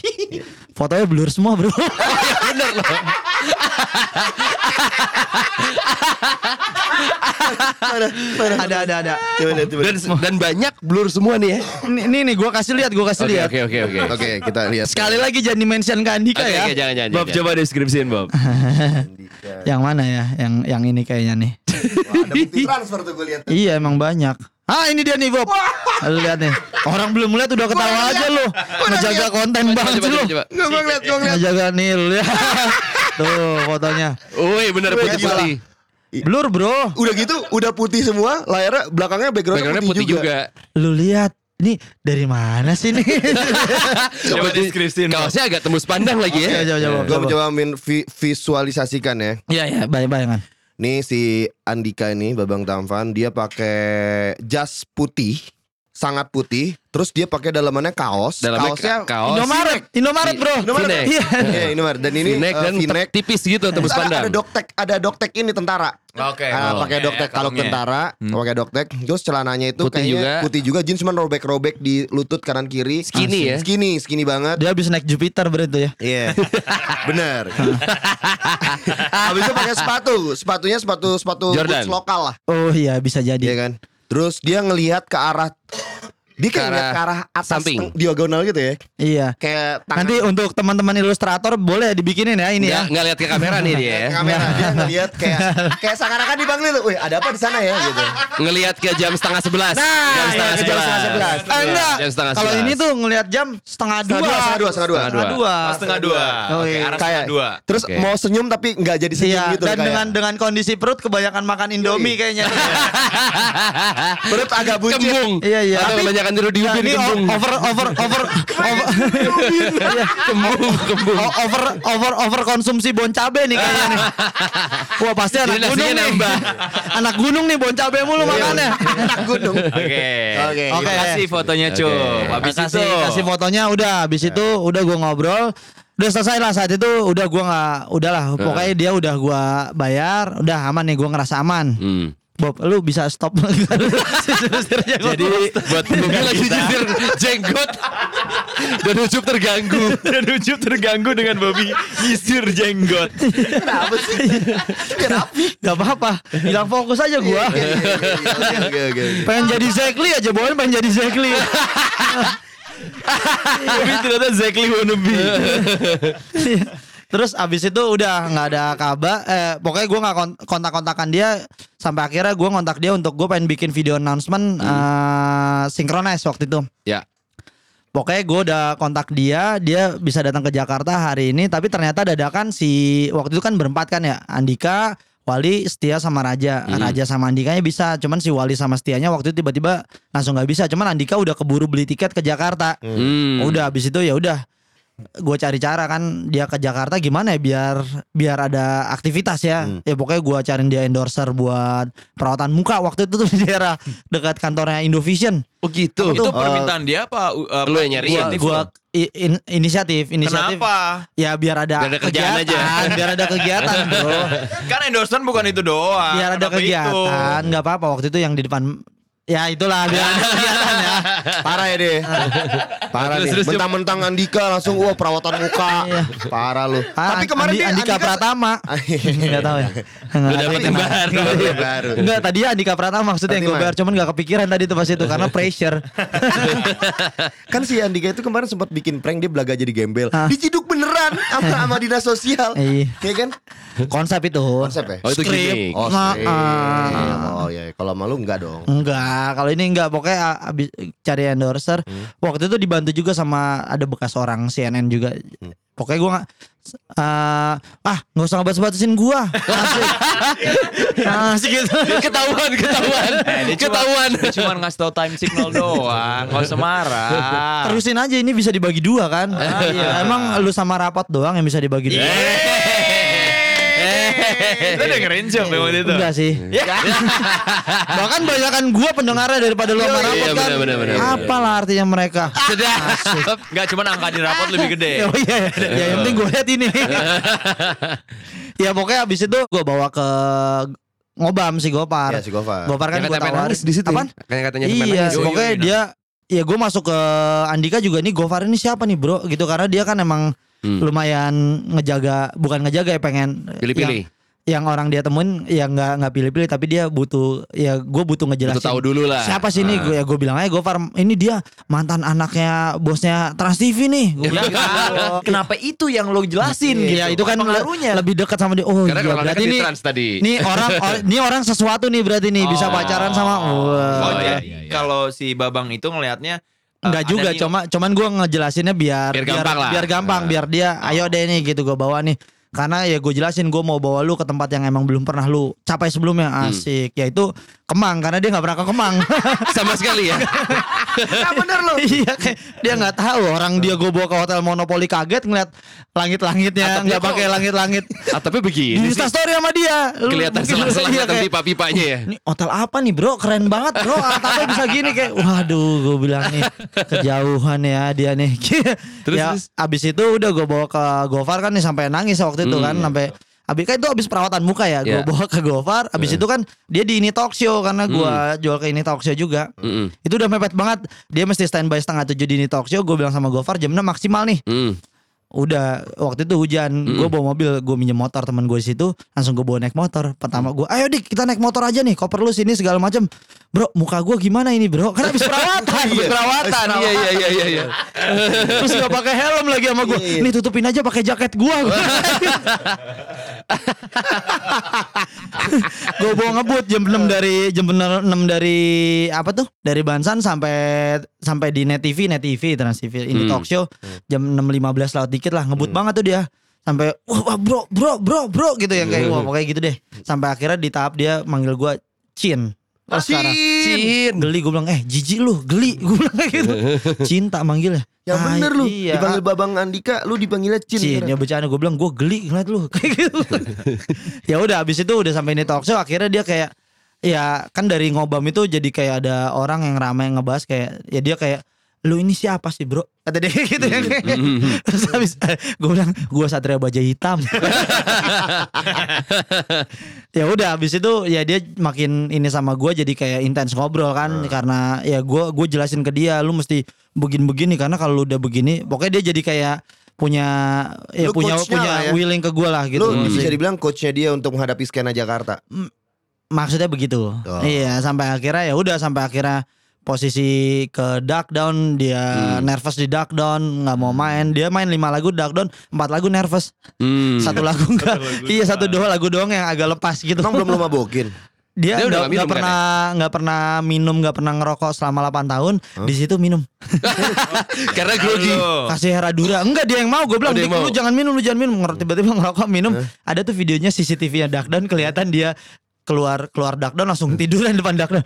Speaker 5: <laughs> fotonya blur
Speaker 3: <laughs>
Speaker 5: semua, Bro.
Speaker 3: Iya,
Speaker 5: ada ada ada.
Speaker 2: Gimana, gimana?
Speaker 3: Dan, dan banyak blur semua nih ya.
Speaker 5: Nih nih, nih gue kasih lihat, gue kasih
Speaker 3: Oke
Speaker 5: lihat.
Speaker 3: oke oke oke.
Speaker 2: Oke, kita lihat.
Speaker 5: Sekali lagi jangan di-mention ke Andika
Speaker 3: Oke
Speaker 5: ya.
Speaker 3: oke jangan jangan.
Speaker 4: Bob
Speaker 3: jangan.
Speaker 4: coba deskripsiin Bob.
Speaker 5: Yang mana ya? Yang yang ini kayaknya nih.
Speaker 2: Ada bukti transfer tuh gue lihat.
Speaker 5: <laughs> Iya emang banyak. Ah ini dia nih Bob. Lu lihat nih. Orang belum lihat udah ketawa aja lu. Ngejaga konten
Speaker 3: Coba,
Speaker 5: banget sih
Speaker 3: coba,
Speaker 5: lu.
Speaker 3: coba, coba.
Speaker 2: Gue ngeliat, gue ngeliat.
Speaker 5: Ngejaga nih lu
Speaker 2: <laughs>
Speaker 5: ya. Tuh fotonya.
Speaker 3: Woi bener putih
Speaker 2: gila.
Speaker 3: putih.
Speaker 5: Blur bro.
Speaker 2: Udah gitu, udah putih semua, layarnya belakangnya backgroundnya
Speaker 3: Backgroundnya
Speaker 2: putih,
Speaker 3: putih
Speaker 2: juga.
Speaker 3: juga.
Speaker 5: Lu lihat. Ini dari mana sih
Speaker 3: <laughs>
Speaker 5: nih?
Speaker 4: Coba deskripsiin Bob.
Speaker 3: Kaosnya agak tembus pandang lagi ya.
Speaker 5: Coba coba
Speaker 2: Gue
Speaker 5: coba.
Speaker 2: mencoba min- vi- visualisasikan ya.
Speaker 5: Iya iya bayang bayangan.
Speaker 2: Nih si Andika ini Babang Tamfan dia pakai jas putih, sangat putih, terus dia pakai dalamannya kaos.
Speaker 3: Dalamnya
Speaker 2: kaosnya
Speaker 3: ka- kaos.
Speaker 5: Indomaret, Indomaret bro.
Speaker 3: V-neck.
Speaker 5: Iya.
Speaker 2: <laughs> Iya, ini Mar. Dan ini
Speaker 3: V-neck
Speaker 2: eh,
Speaker 3: dan
Speaker 2: V-neck.
Speaker 3: tipis gitu tembus
Speaker 2: Terus ada,
Speaker 3: pandang.
Speaker 2: ada doktek, ada doktek ini tentara.
Speaker 4: Oke.
Speaker 2: Ah,
Speaker 3: oh. Hmm.
Speaker 2: pakai doktek kalau
Speaker 4: kalungnya.
Speaker 2: tentara, pakai doktek. Terus celananya itu
Speaker 3: Putih
Speaker 2: kayaknya
Speaker 3: juga.
Speaker 2: putih juga, jeans cuman robek-robek di lutut kanan kiri.
Speaker 3: Skinny ya?
Speaker 2: Skinny, skinny banget.
Speaker 5: <laughs> Dia habis naik Jupiter berarti ya.
Speaker 2: Iya. Bener. Habis itu pakai sepatu, sepatunya sepatu sepatu
Speaker 3: Jordan.
Speaker 2: boots lokal lah.
Speaker 5: Oh iya bisa
Speaker 2: Iya
Speaker 5: jadi.
Speaker 2: kan? Terus dia ngelihat ke arah dia
Speaker 3: Ke
Speaker 2: kayak ngeliat
Speaker 3: arah
Speaker 2: ke arah atas
Speaker 3: samping.
Speaker 2: teng- diagonal gitu ya.
Speaker 5: Iya.
Speaker 2: Kayak tangan
Speaker 5: Nanti untuk teman-teman ilustrator boleh dibikinin ya ini
Speaker 3: Nggak
Speaker 5: ya.
Speaker 3: nggak lihat ke kamera nih dia.
Speaker 2: ke
Speaker 3: ya.
Speaker 2: kamera dia ngelihat kayak kayak seakan-akan dipanggil tuh, "Wih, ada apa di sana ya?" gitu.
Speaker 3: Ngelihat ke jam setengah sebelas. jam
Speaker 5: Nah,
Speaker 3: setengah
Speaker 5: iya, jam setengah sebelas.
Speaker 3: sebelas.
Speaker 5: Eh, enggak.
Speaker 3: Jam setengah
Speaker 5: Kalau
Speaker 3: sebelas.
Speaker 5: ini tuh ngelihat jam setengah dua.
Speaker 2: Setengah dua, setengah dua, setengah dua.
Speaker 5: Setengah dua.
Speaker 4: Setengah dua.
Speaker 5: Oh,
Speaker 4: Oke,
Speaker 5: iya.
Speaker 4: arah
Speaker 2: Kayak
Speaker 4: setengah dua.
Speaker 2: Terus
Speaker 3: Oke.
Speaker 2: mau senyum tapi nggak jadi senyum
Speaker 5: Iya,
Speaker 2: gitu
Speaker 5: dan
Speaker 2: kayak.
Speaker 5: dengan dengan kondisi perut kebanyakan makan Indomie kayaknya.
Speaker 2: perut agak buncit.
Speaker 3: Kembung.
Speaker 5: Iya, iya.
Speaker 3: Atau
Speaker 5: Tapi-
Speaker 3: kebanyakan tidur di
Speaker 5: Iya,
Speaker 3: ubin
Speaker 5: ini
Speaker 3: kembung.
Speaker 5: o- over over over over <laughs> Iya.
Speaker 3: Kembung, kembung.
Speaker 5: O- over over over konsumsi bon cabe nih kayaknya nih. Wah, pasti anak
Speaker 3: Jadi nasinya
Speaker 5: gunung nih.
Speaker 3: nambah.
Speaker 5: anak gunung nih bon cabe mulu
Speaker 2: Iya. <laughs>
Speaker 5: makannya.
Speaker 2: Anak gunung.
Speaker 4: Oke.
Speaker 2: Oke.
Speaker 5: Oke.
Speaker 4: Kasih fotonya cuy.
Speaker 3: Oke.
Speaker 4: Habis
Speaker 5: kasih
Speaker 4: itu. Ya.
Speaker 5: kasih fotonya udah habis itu udah gua ngobrol udah selesai lah saat itu udah gua nggak udahlah
Speaker 4: Ya.
Speaker 5: pokoknya dia udah gua bayar udah aman nih gua ngerasa aman
Speaker 3: Hmm.
Speaker 5: Bob lu bisa stop <laughs>
Speaker 4: Jadi buat
Speaker 3: Dia
Speaker 4: pembuka
Speaker 3: lagi
Speaker 4: kita
Speaker 3: nyisir jenggot dan ujub terganggu.
Speaker 4: dan ujub terganggu dengan Bobby nyisir jenggot.
Speaker 2: Kenapa sih? Biar rapi.
Speaker 5: Gak apa-apa Bilang fokus aja gua
Speaker 4: Iya.
Speaker 5: iya,
Speaker 2: Oke, oke, oke.
Speaker 4: <laughs>
Speaker 5: Pengen jadi Zekli aja Bowen pengen jadi Zekli
Speaker 4: Tapi ternyata exactly wanna be.
Speaker 5: Terus abis itu udah nggak ada kabar. Eh, pokoknya gue nggak kon- kontak-kontakan dia sampai akhirnya gue kontak dia untuk gue pengen bikin video
Speaker 4: Hmm.
Speaker 5: announcement eh, synchronize waktu itu.
Speaker 3: Ya.
Speaker 5: Pokoknya gue udah kontak dia, dia bisa datang ke Jakarta hari ini. Tapi ternyata dadakan si waktu itu kan berempat kan ya, Andika, Wali, Setia sama Raja.
Speaker 3: Hmm.
Speaker 5: Raja sama Andikanya bisa, cuman si Wali sama Setianya waktu itu tiba-tiba langsung nggak bisa. Cuman Andika udah keburu beli tiket ke Jakarta.
Speaker 3: Hmm.
Speaker 5: Udah habis itu ya udah gue cari cara kan dia ke Jakarta gimana ya biar biar ada aktivitas ya ya pokoknya gue cariin dia endorser buat perawatan muka waktu itu tuh di daerah dekat kantornya Indovision
Speaker 3: Oh gitu.
Speaker 6: Itu
Speaker 5: Tuh,
Speaker 6: permintaan dia apa? u-
Speaker 4: uh,
Speaker 6: apa
Speaker 3: Lu yang nyari.
Speaker 5: gua,
Speaker 6: inisiatif
Speaker 5: gua
Speaker 6: lu?
Speaker 5: i- in- inisiatif
Speaker 4: Iya,
Speaker 5: inisiatif
Speaker 4: Kenapa?
Speaker 5: ya biar ada,
Speaker 3: Biar ada kerjaan aja.
Speaker 5: biar ada kegiatan bro
Speaker 4: Kan endorsement bukan itu doang.
Speaker 5: biar ada
Speaker 4: Kenapa itu?
Speaker 5: kegiatan nggak apa-apa waktu itu yang di depan ya itulah biar ada kegiatan ya
Speaker 2: Parah ya deh.
Speaker 3: Terus,
Speaker 2: Parah nih.
Speaker 3: terus, Jum.
Speaker 2: Mentang-mentang Andika langsung wah perawatan muka.
Speaker 5: Iya.
Speaker 2: Parah lu.
Speaker 5: Ah,
Speaker 2: Tapi kemarin
Speaker 5: Andi-
Speaker 2: dia
Speaker 5: Andika
Speaker 2: <laughs>
Speaker 5: Pratama <laughs> nggak tahu ya Nggak
Speaker 3: Lu
Speaker 5: ada
Speaker 3: dapet
Speaker 5: yang
Speaker 3: yang
Speaker 5: kenal.
Speaker 3: baru.
Speaker 2: Iya, baru.
Speaker 5: Enggak tadi Andika Pratama maksudnya yang gue
Speaker 2: Pratima.
Speaker 5: bayar Cuman gak kepikiran tadi tuh pas itu Karena pressure
Speaker 2: Kan si Andika itu kemarin sempat bikin prank dia belaga jadi gembel.
Speaker 5: Hah?
Speaker 2: Diciduk beneran sama, sama dinas sosial.
Speaker 5: Iya.
Speaker 2: Iya kan?
Speaker 5: Konsep itu
Speaker 2: Konsep ya?
Speaker 3: Oh itu
Speaker 5: Skrip.
Speaker 3: gimmick.
Speaker 2: Oh,
Speaker 5: Nah,
Speaker 2: sih.
Speaker 5: ah.
Speaker 2: Iya, oh iya, kalau malu enggak dong.
Speaker 5: Enggak Kalau ini enggak Pokoknya a- abis cari endorser
Speaker 3: Hmm.
Speaker 5: Waktu itu dibantu juga sama Ada bekas orang CNN juga
Speaker 3: Hmm.
Speaker 5: Pokoknya gue gak eh, Ah gak usah ngebahas-bahasin gue
Speaker 3: <laughs>
Speaker 5: Asik Asik gitu
Speaker 3: Ketahuan, ketahuan.
Speaker 6: Eh, dia cuma-
Speaker 3: ketahuan.
Speaker 6: dia Cuma ngasih tau time signal doang. Gak usah
Speaker 3: Ah.
Speaker 6: marah.
Speaker 5: Terusin aja ini bisa dibagi dua kan Iya, Emang lu sama rapot doang yang bisa dibagi dua
Speaker 3: Iya,
Speaker 6: Lu dengerin Jom yang waktu itu.
Speaker 5: Enggak sih.
Speaker 3: Iya.
Speaker 5: Bahkan banyakkan gua pendengarnya daripada lu sama
Speaker 3: Iya,
Speaker 5: rapot kan.
Speaker 3: benar, benar, benar, benar.
Speaker 5: Apalah artinya mereka?
Speaker 3: Sedap.
Speaker 6: Enggak cuma angka di rapot lebih gede.
Speaker 5: Ya, <laughs> oh iya, ya, ya yang penting gua lihat ini. ya pokoknya abis itu gua bawa ke ngobam si Gopar.
Speaker 2: Iya, si Gofar.
Speaker 5: Gopar kan
Speaker 3: Yang
Speaker 5: gua
Speaker 3: katanya
Speaker 5: tawarin.
Speaker 3: nangis di situ. ya?
Speaker 5: Apaan?
Speaker 3: Yang katanya sampai
Speaker 5: Iya,
Speaker 3: nangis.
Speaker 6: Yoi,
Speaker 5: pokoknya
Speaker 6: yoi,
Speaker 5: dia ya gue masuk ke Andika juga nih Gofar ini siapa nih bro gitu karena dia kan emang
Speaker 3: Hmm.
Speaker 5: lumayan ngejaga bukan ngejaga ya pengen
Speaker 3: Pilih-pilih.
Speaker 5: yang, yang orang dia temuin ya nggak nggak pilih-pilih tapi dia butuh ya gue butuh ngejelasin
Speaker 3: Itu tahu dulu lah.
Speaker 5: siapa sih ini gue ya gue bilang aja Gofar ini dia mantan anaknya bosnya Trans TV
Speaker 3: Iya.
Speaker 5: nih gue
Speaker 3: <laughs>
Speaker 5: bilang gitu.
Speaker 6: Kenapa itu yang lo jelasin gitu?
Speaker 5: ya itu kan le-
Speaker 6: pengaruhnya.
Speaker 5: lebih dekat sama dia
Speaker 3: Karena
Speaker 5: oh iya
Speaker 3: kalau nggak
Speaker 5: berarti
Speaker 3: kan di
Speaker 5: nih
Speaker 3: trans tadi.
Speaker 5: nih orang
Speaker 3: <laughs>
Speaker 5: or- nih orang sesuatu nih berarti nih bisa pacaran sama wah.
Speaker 6: Oh,
Speaker 3: Oh,
Speaker 6: iya,
Speaker 3: iya, iya, iya.
Speaker 6: kalau si Babang itu ngelihatnya eh,
Speaker 5: Enggak
Speaker 6: ada
Speaker 5: juga,
Speaker 6: nih-
Speaker 5: cuma cuman gue ngejelasinnya biar
Speaker 3: Biar gampang lah. Iya.
Speaker 5: biar gampang, biar dia ayo deh nih gitu gue bawa nih. Karena ya gue jelasin gue mau bawa lu ke tempat yang emang belum pernah lu capai sebelumnya
Speaker 3: Hmm.
Speaker 5: asik yaitu Kemang karena dia nggak pernah ke Kemang
Speaker 3: <laughs>
Speaker 5: <laughs>
Speaker 3: Sama sekali ya.
Speaker 5: nah bener lu iya kayak dia nggak tahu orang dia gue bawa ke hotel Monopoly kaget ngeliat langit-langitnya
Speaker 3: Atapnya
Speaker 5: nggak
Speaker 3: kok-
Speaker 5: pakai langit-langit
Speaker 3: Ah, tapi
Speaker 5: di
Speaker 3: begini sih.
Speaker 5: Instastory sama dia Lu <laughs>
Speaker 3: Kelihatan
Speaker 5: mungkin-
Speaker 3: selang-selang
Speaker 5: iya, kayak,
Speaker 3: pipa-pipanya ya.
Speaker 5: ini hotel apa nih bro keren banget
Speaker 3: <laughs>
Speaker 5: bro atapnya bisa gini kayak waduh gue bilang nih kejauhan ya dia nih <laughs>
Speaker 3: Terus,
Speaker 5: ya
Speaker 3: terus?
Speaker 5: abis itu udah gue bawa ke Gofar kan nih sampai nangis waktu itu
Speaker 3: Hmm.
Speaker 5: kan sampai Abis kan itu abis perawatan muka ya,
Speaker 3: Iya.
Speaker 5: gue bawa ke Gofar.
Speaker 3: Ya.
Speaker 5: Abis itu kan dia di ini talk show karena gue
Speaker 3: Hmm.
Speaker 5: jual ke ini talk show juga.
Speaker 3: Mm-mm.
Speaker 5: Itu udah mepet banget. Dia mesti standby setengah tujuh di ini talk show. Gue bilang sama Gofar jamnya maksimal nih.
Speaker 3: Hmm.
Speaker 5: Udah waktu itu hujan, gue bawa mobil, gue minjem motor teman gue di situ, langsung gue bawa naik motor. Pertama gue, ayo dik kita naik motor aja nih, koper lu sini segala macam. Bro, muka gue gimana ini bro? Karena habis perawatan, habis perawatan.
Speaker 3: Iya iya iya iya iya.
Speaker 5: Terus gak pakai helm lagi sama gue.
Speaker 2: Iya, iya.
Speaker 5: Nih tutupin aja pakai jaket gue. gue bawa ngebut jam 6 dari jam 6 dari apa tuh? Dari Bansan sampai sampai di Net TV, Net TV Trans TV ini
Speaker 3: Hmm.
Speaker 5: talk show jam 6.15 laut dikit lah ngebut banget tuh dia sampai wah, wah, bro bro bro bro gitu ya kayak wah pokoknya gitu deh sampai akhirnya di tahap dia manggil gue Chin Oh, sekarang. Cin. Geli gue bilang eh jijik lu geli <laughs> gue bilang kayak gitu cinta manggilnya
Speaker 2: Ya
Speaker 5: Ah,
Speaker 2: bener lu
Speaker 5: iya.
Speaker 2: Dipanggil Babang Andika Lu dipanggilnya Cin,
Speaker 5: Cin ya bercanda gue bilang gue geli ngeliat lu <laughs> kayak gitu
Speaker 2: <laughs>
Speaker 5: ya udah abis itu udah sampai ini talk show akhirnya dia kayak ya kan dari ngobam itu jadi kayak ada orang yang ramai yang ngebahas kayak ya dia kayak lu ini siapa sih bro kata dia <laughs> kayak gitu ya
Speaker 2: Iya.
Speaker 5: terus habis gue bilang gue satria
Speaker 2: <laughs>
Speaker 5: baja hitam ya udah habis itu ya dia makin ini sama gue jadi kayak intens ngobrol kan
Speaker 2: Nah.
Speaker 5: karena ya gue gue jelasin ke dia lu mesti begini begini karena kalau lu udah begini pokoknya dia jadi kayak punya
Speaker 2: Lu
Speaker 5: ya punya
Speaker 2: coachnya
Speaker 5: punya
Speaker 2: lah ya.
Speaker 5: willing ke gue lah gitu
Speaker 2: Lu
Speaker 5: Maksudnya-
Speaker 2: bisa dibilang coachnya dia untuk menghadapi skena Jakarta
Speaker 5: maksudnya begitu
Speaker 2: Oh.
Speaker 5: iya sampai akhirnya ya udah sampai akhirnya posisi ke duck down dia
Speaker 3: Hmm.
Speaker 5: nervous di duck down nggak
Speaker 2: Hmm.
Speaker 5: mau main dia main lima lagu duck down empat lagu nervous
Speaker 3: Hmm.
Speaker 5: satu
Speaker 2: <laughs>
Speaker 5: lagu enggak iya satu dua lagu doang yang agak lepas gitu
Speaker 2: Emang belum lu mabokin?
Speaker 5: <laughs> dia
Speaker 3: Dia udah nggak
Speaker 5: nggak
Speaker 3: minum
Speaker 5: nggak
Speaker 3: kan
Speaker 5: pernah nggak pernah minum nggak pernah ngerokok selama 8 tahun di situ minum
Speaker 3: Karena grogi.
Speaker 5: kasih Heradura enggak dia yang mau gue bilang
Speaker 3: Oh, dia
Speaker 5: "Dik,
Speaker 3: yang
Speaker 5: lu
Speaker 3: mau."
Speaker 5: jangan minum lu jangan minum Ngerok- tiba-tiba ngerokok minum ada tuh videonya CCTV nya Dakdan kelihatan dia keluar keluar Dakdan langsung tiduran depan Dakdan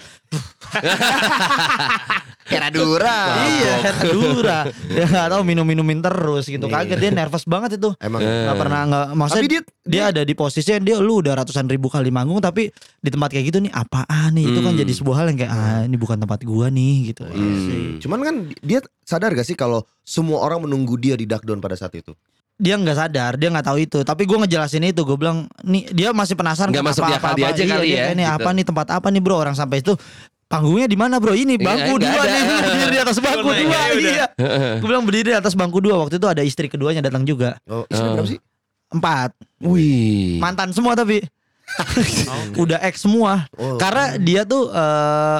Speaker 2: Heradura.
Speaker 3: Ah,
Speaker 5: iya Heradura dia nggak tahu minum minumin terus gitu
Speaker 3: Iya.
Speaker 5: kaget dia nervous banget itu
Speaker 2: Emang.
Speaker 5: nggak pernah nggak maksudnya
Speaker 2: Tapi dia-
Speaker 5: Eh. dia, ada di posisinya dia lu udah ratusan ribu kali manggung tapi di tempat kayak gitu nih apaan nih itu kan
Speaker 3: Hmm.
Speaker 5: jadi sebuah hal yang kayak ah ini bukan tempat gua nih gitu
Speaker 3: Hmm.
Speaker 2: Cuman kan dia sadar gak sih kalau semua orang menunggu dia di duck down pada saat itu?
Speaker 5: dia nggak sadar dia nggak tahu itu tapi gua ngejelasin itu gue bilang nih dia masih penasaran
Speaker 3: Nggak masuk di akal dia aja kali ya,
Speaker 5: ini
Speaker 3: gitu.
Speaker 5: apa nih tempat apa nih bro orang sampai itu panggungnya di mana bro ini
Speaker 3: Iya,
Speaker 5: bangku
Speaker 3: nggak
Speaker 5: dua
Speaker 3: ada.
Speaker 5: nih
Speaker 3: <laughs>
Speaker 5: berdiri di atas bangku
Speaker 6: naik
Speaker 5: dua
Speaker 6: aja
Speaker 5: iya gue bilang berdiri di atas bangku dua waktu itu ada istri keduanya datang juga
Speaker 2: Oh,
Speaker 3: Oh.
Speaker 2: isinya berapa sih?
Speaker 5: empat
Speaker 3: Wih.
Speaker 5: mantan semua
Speaker 3: <laughs>
Speaker 5: tapi udah ex semua
Speaker 2: Oh.
Speaker 5: karena dia tuh eh,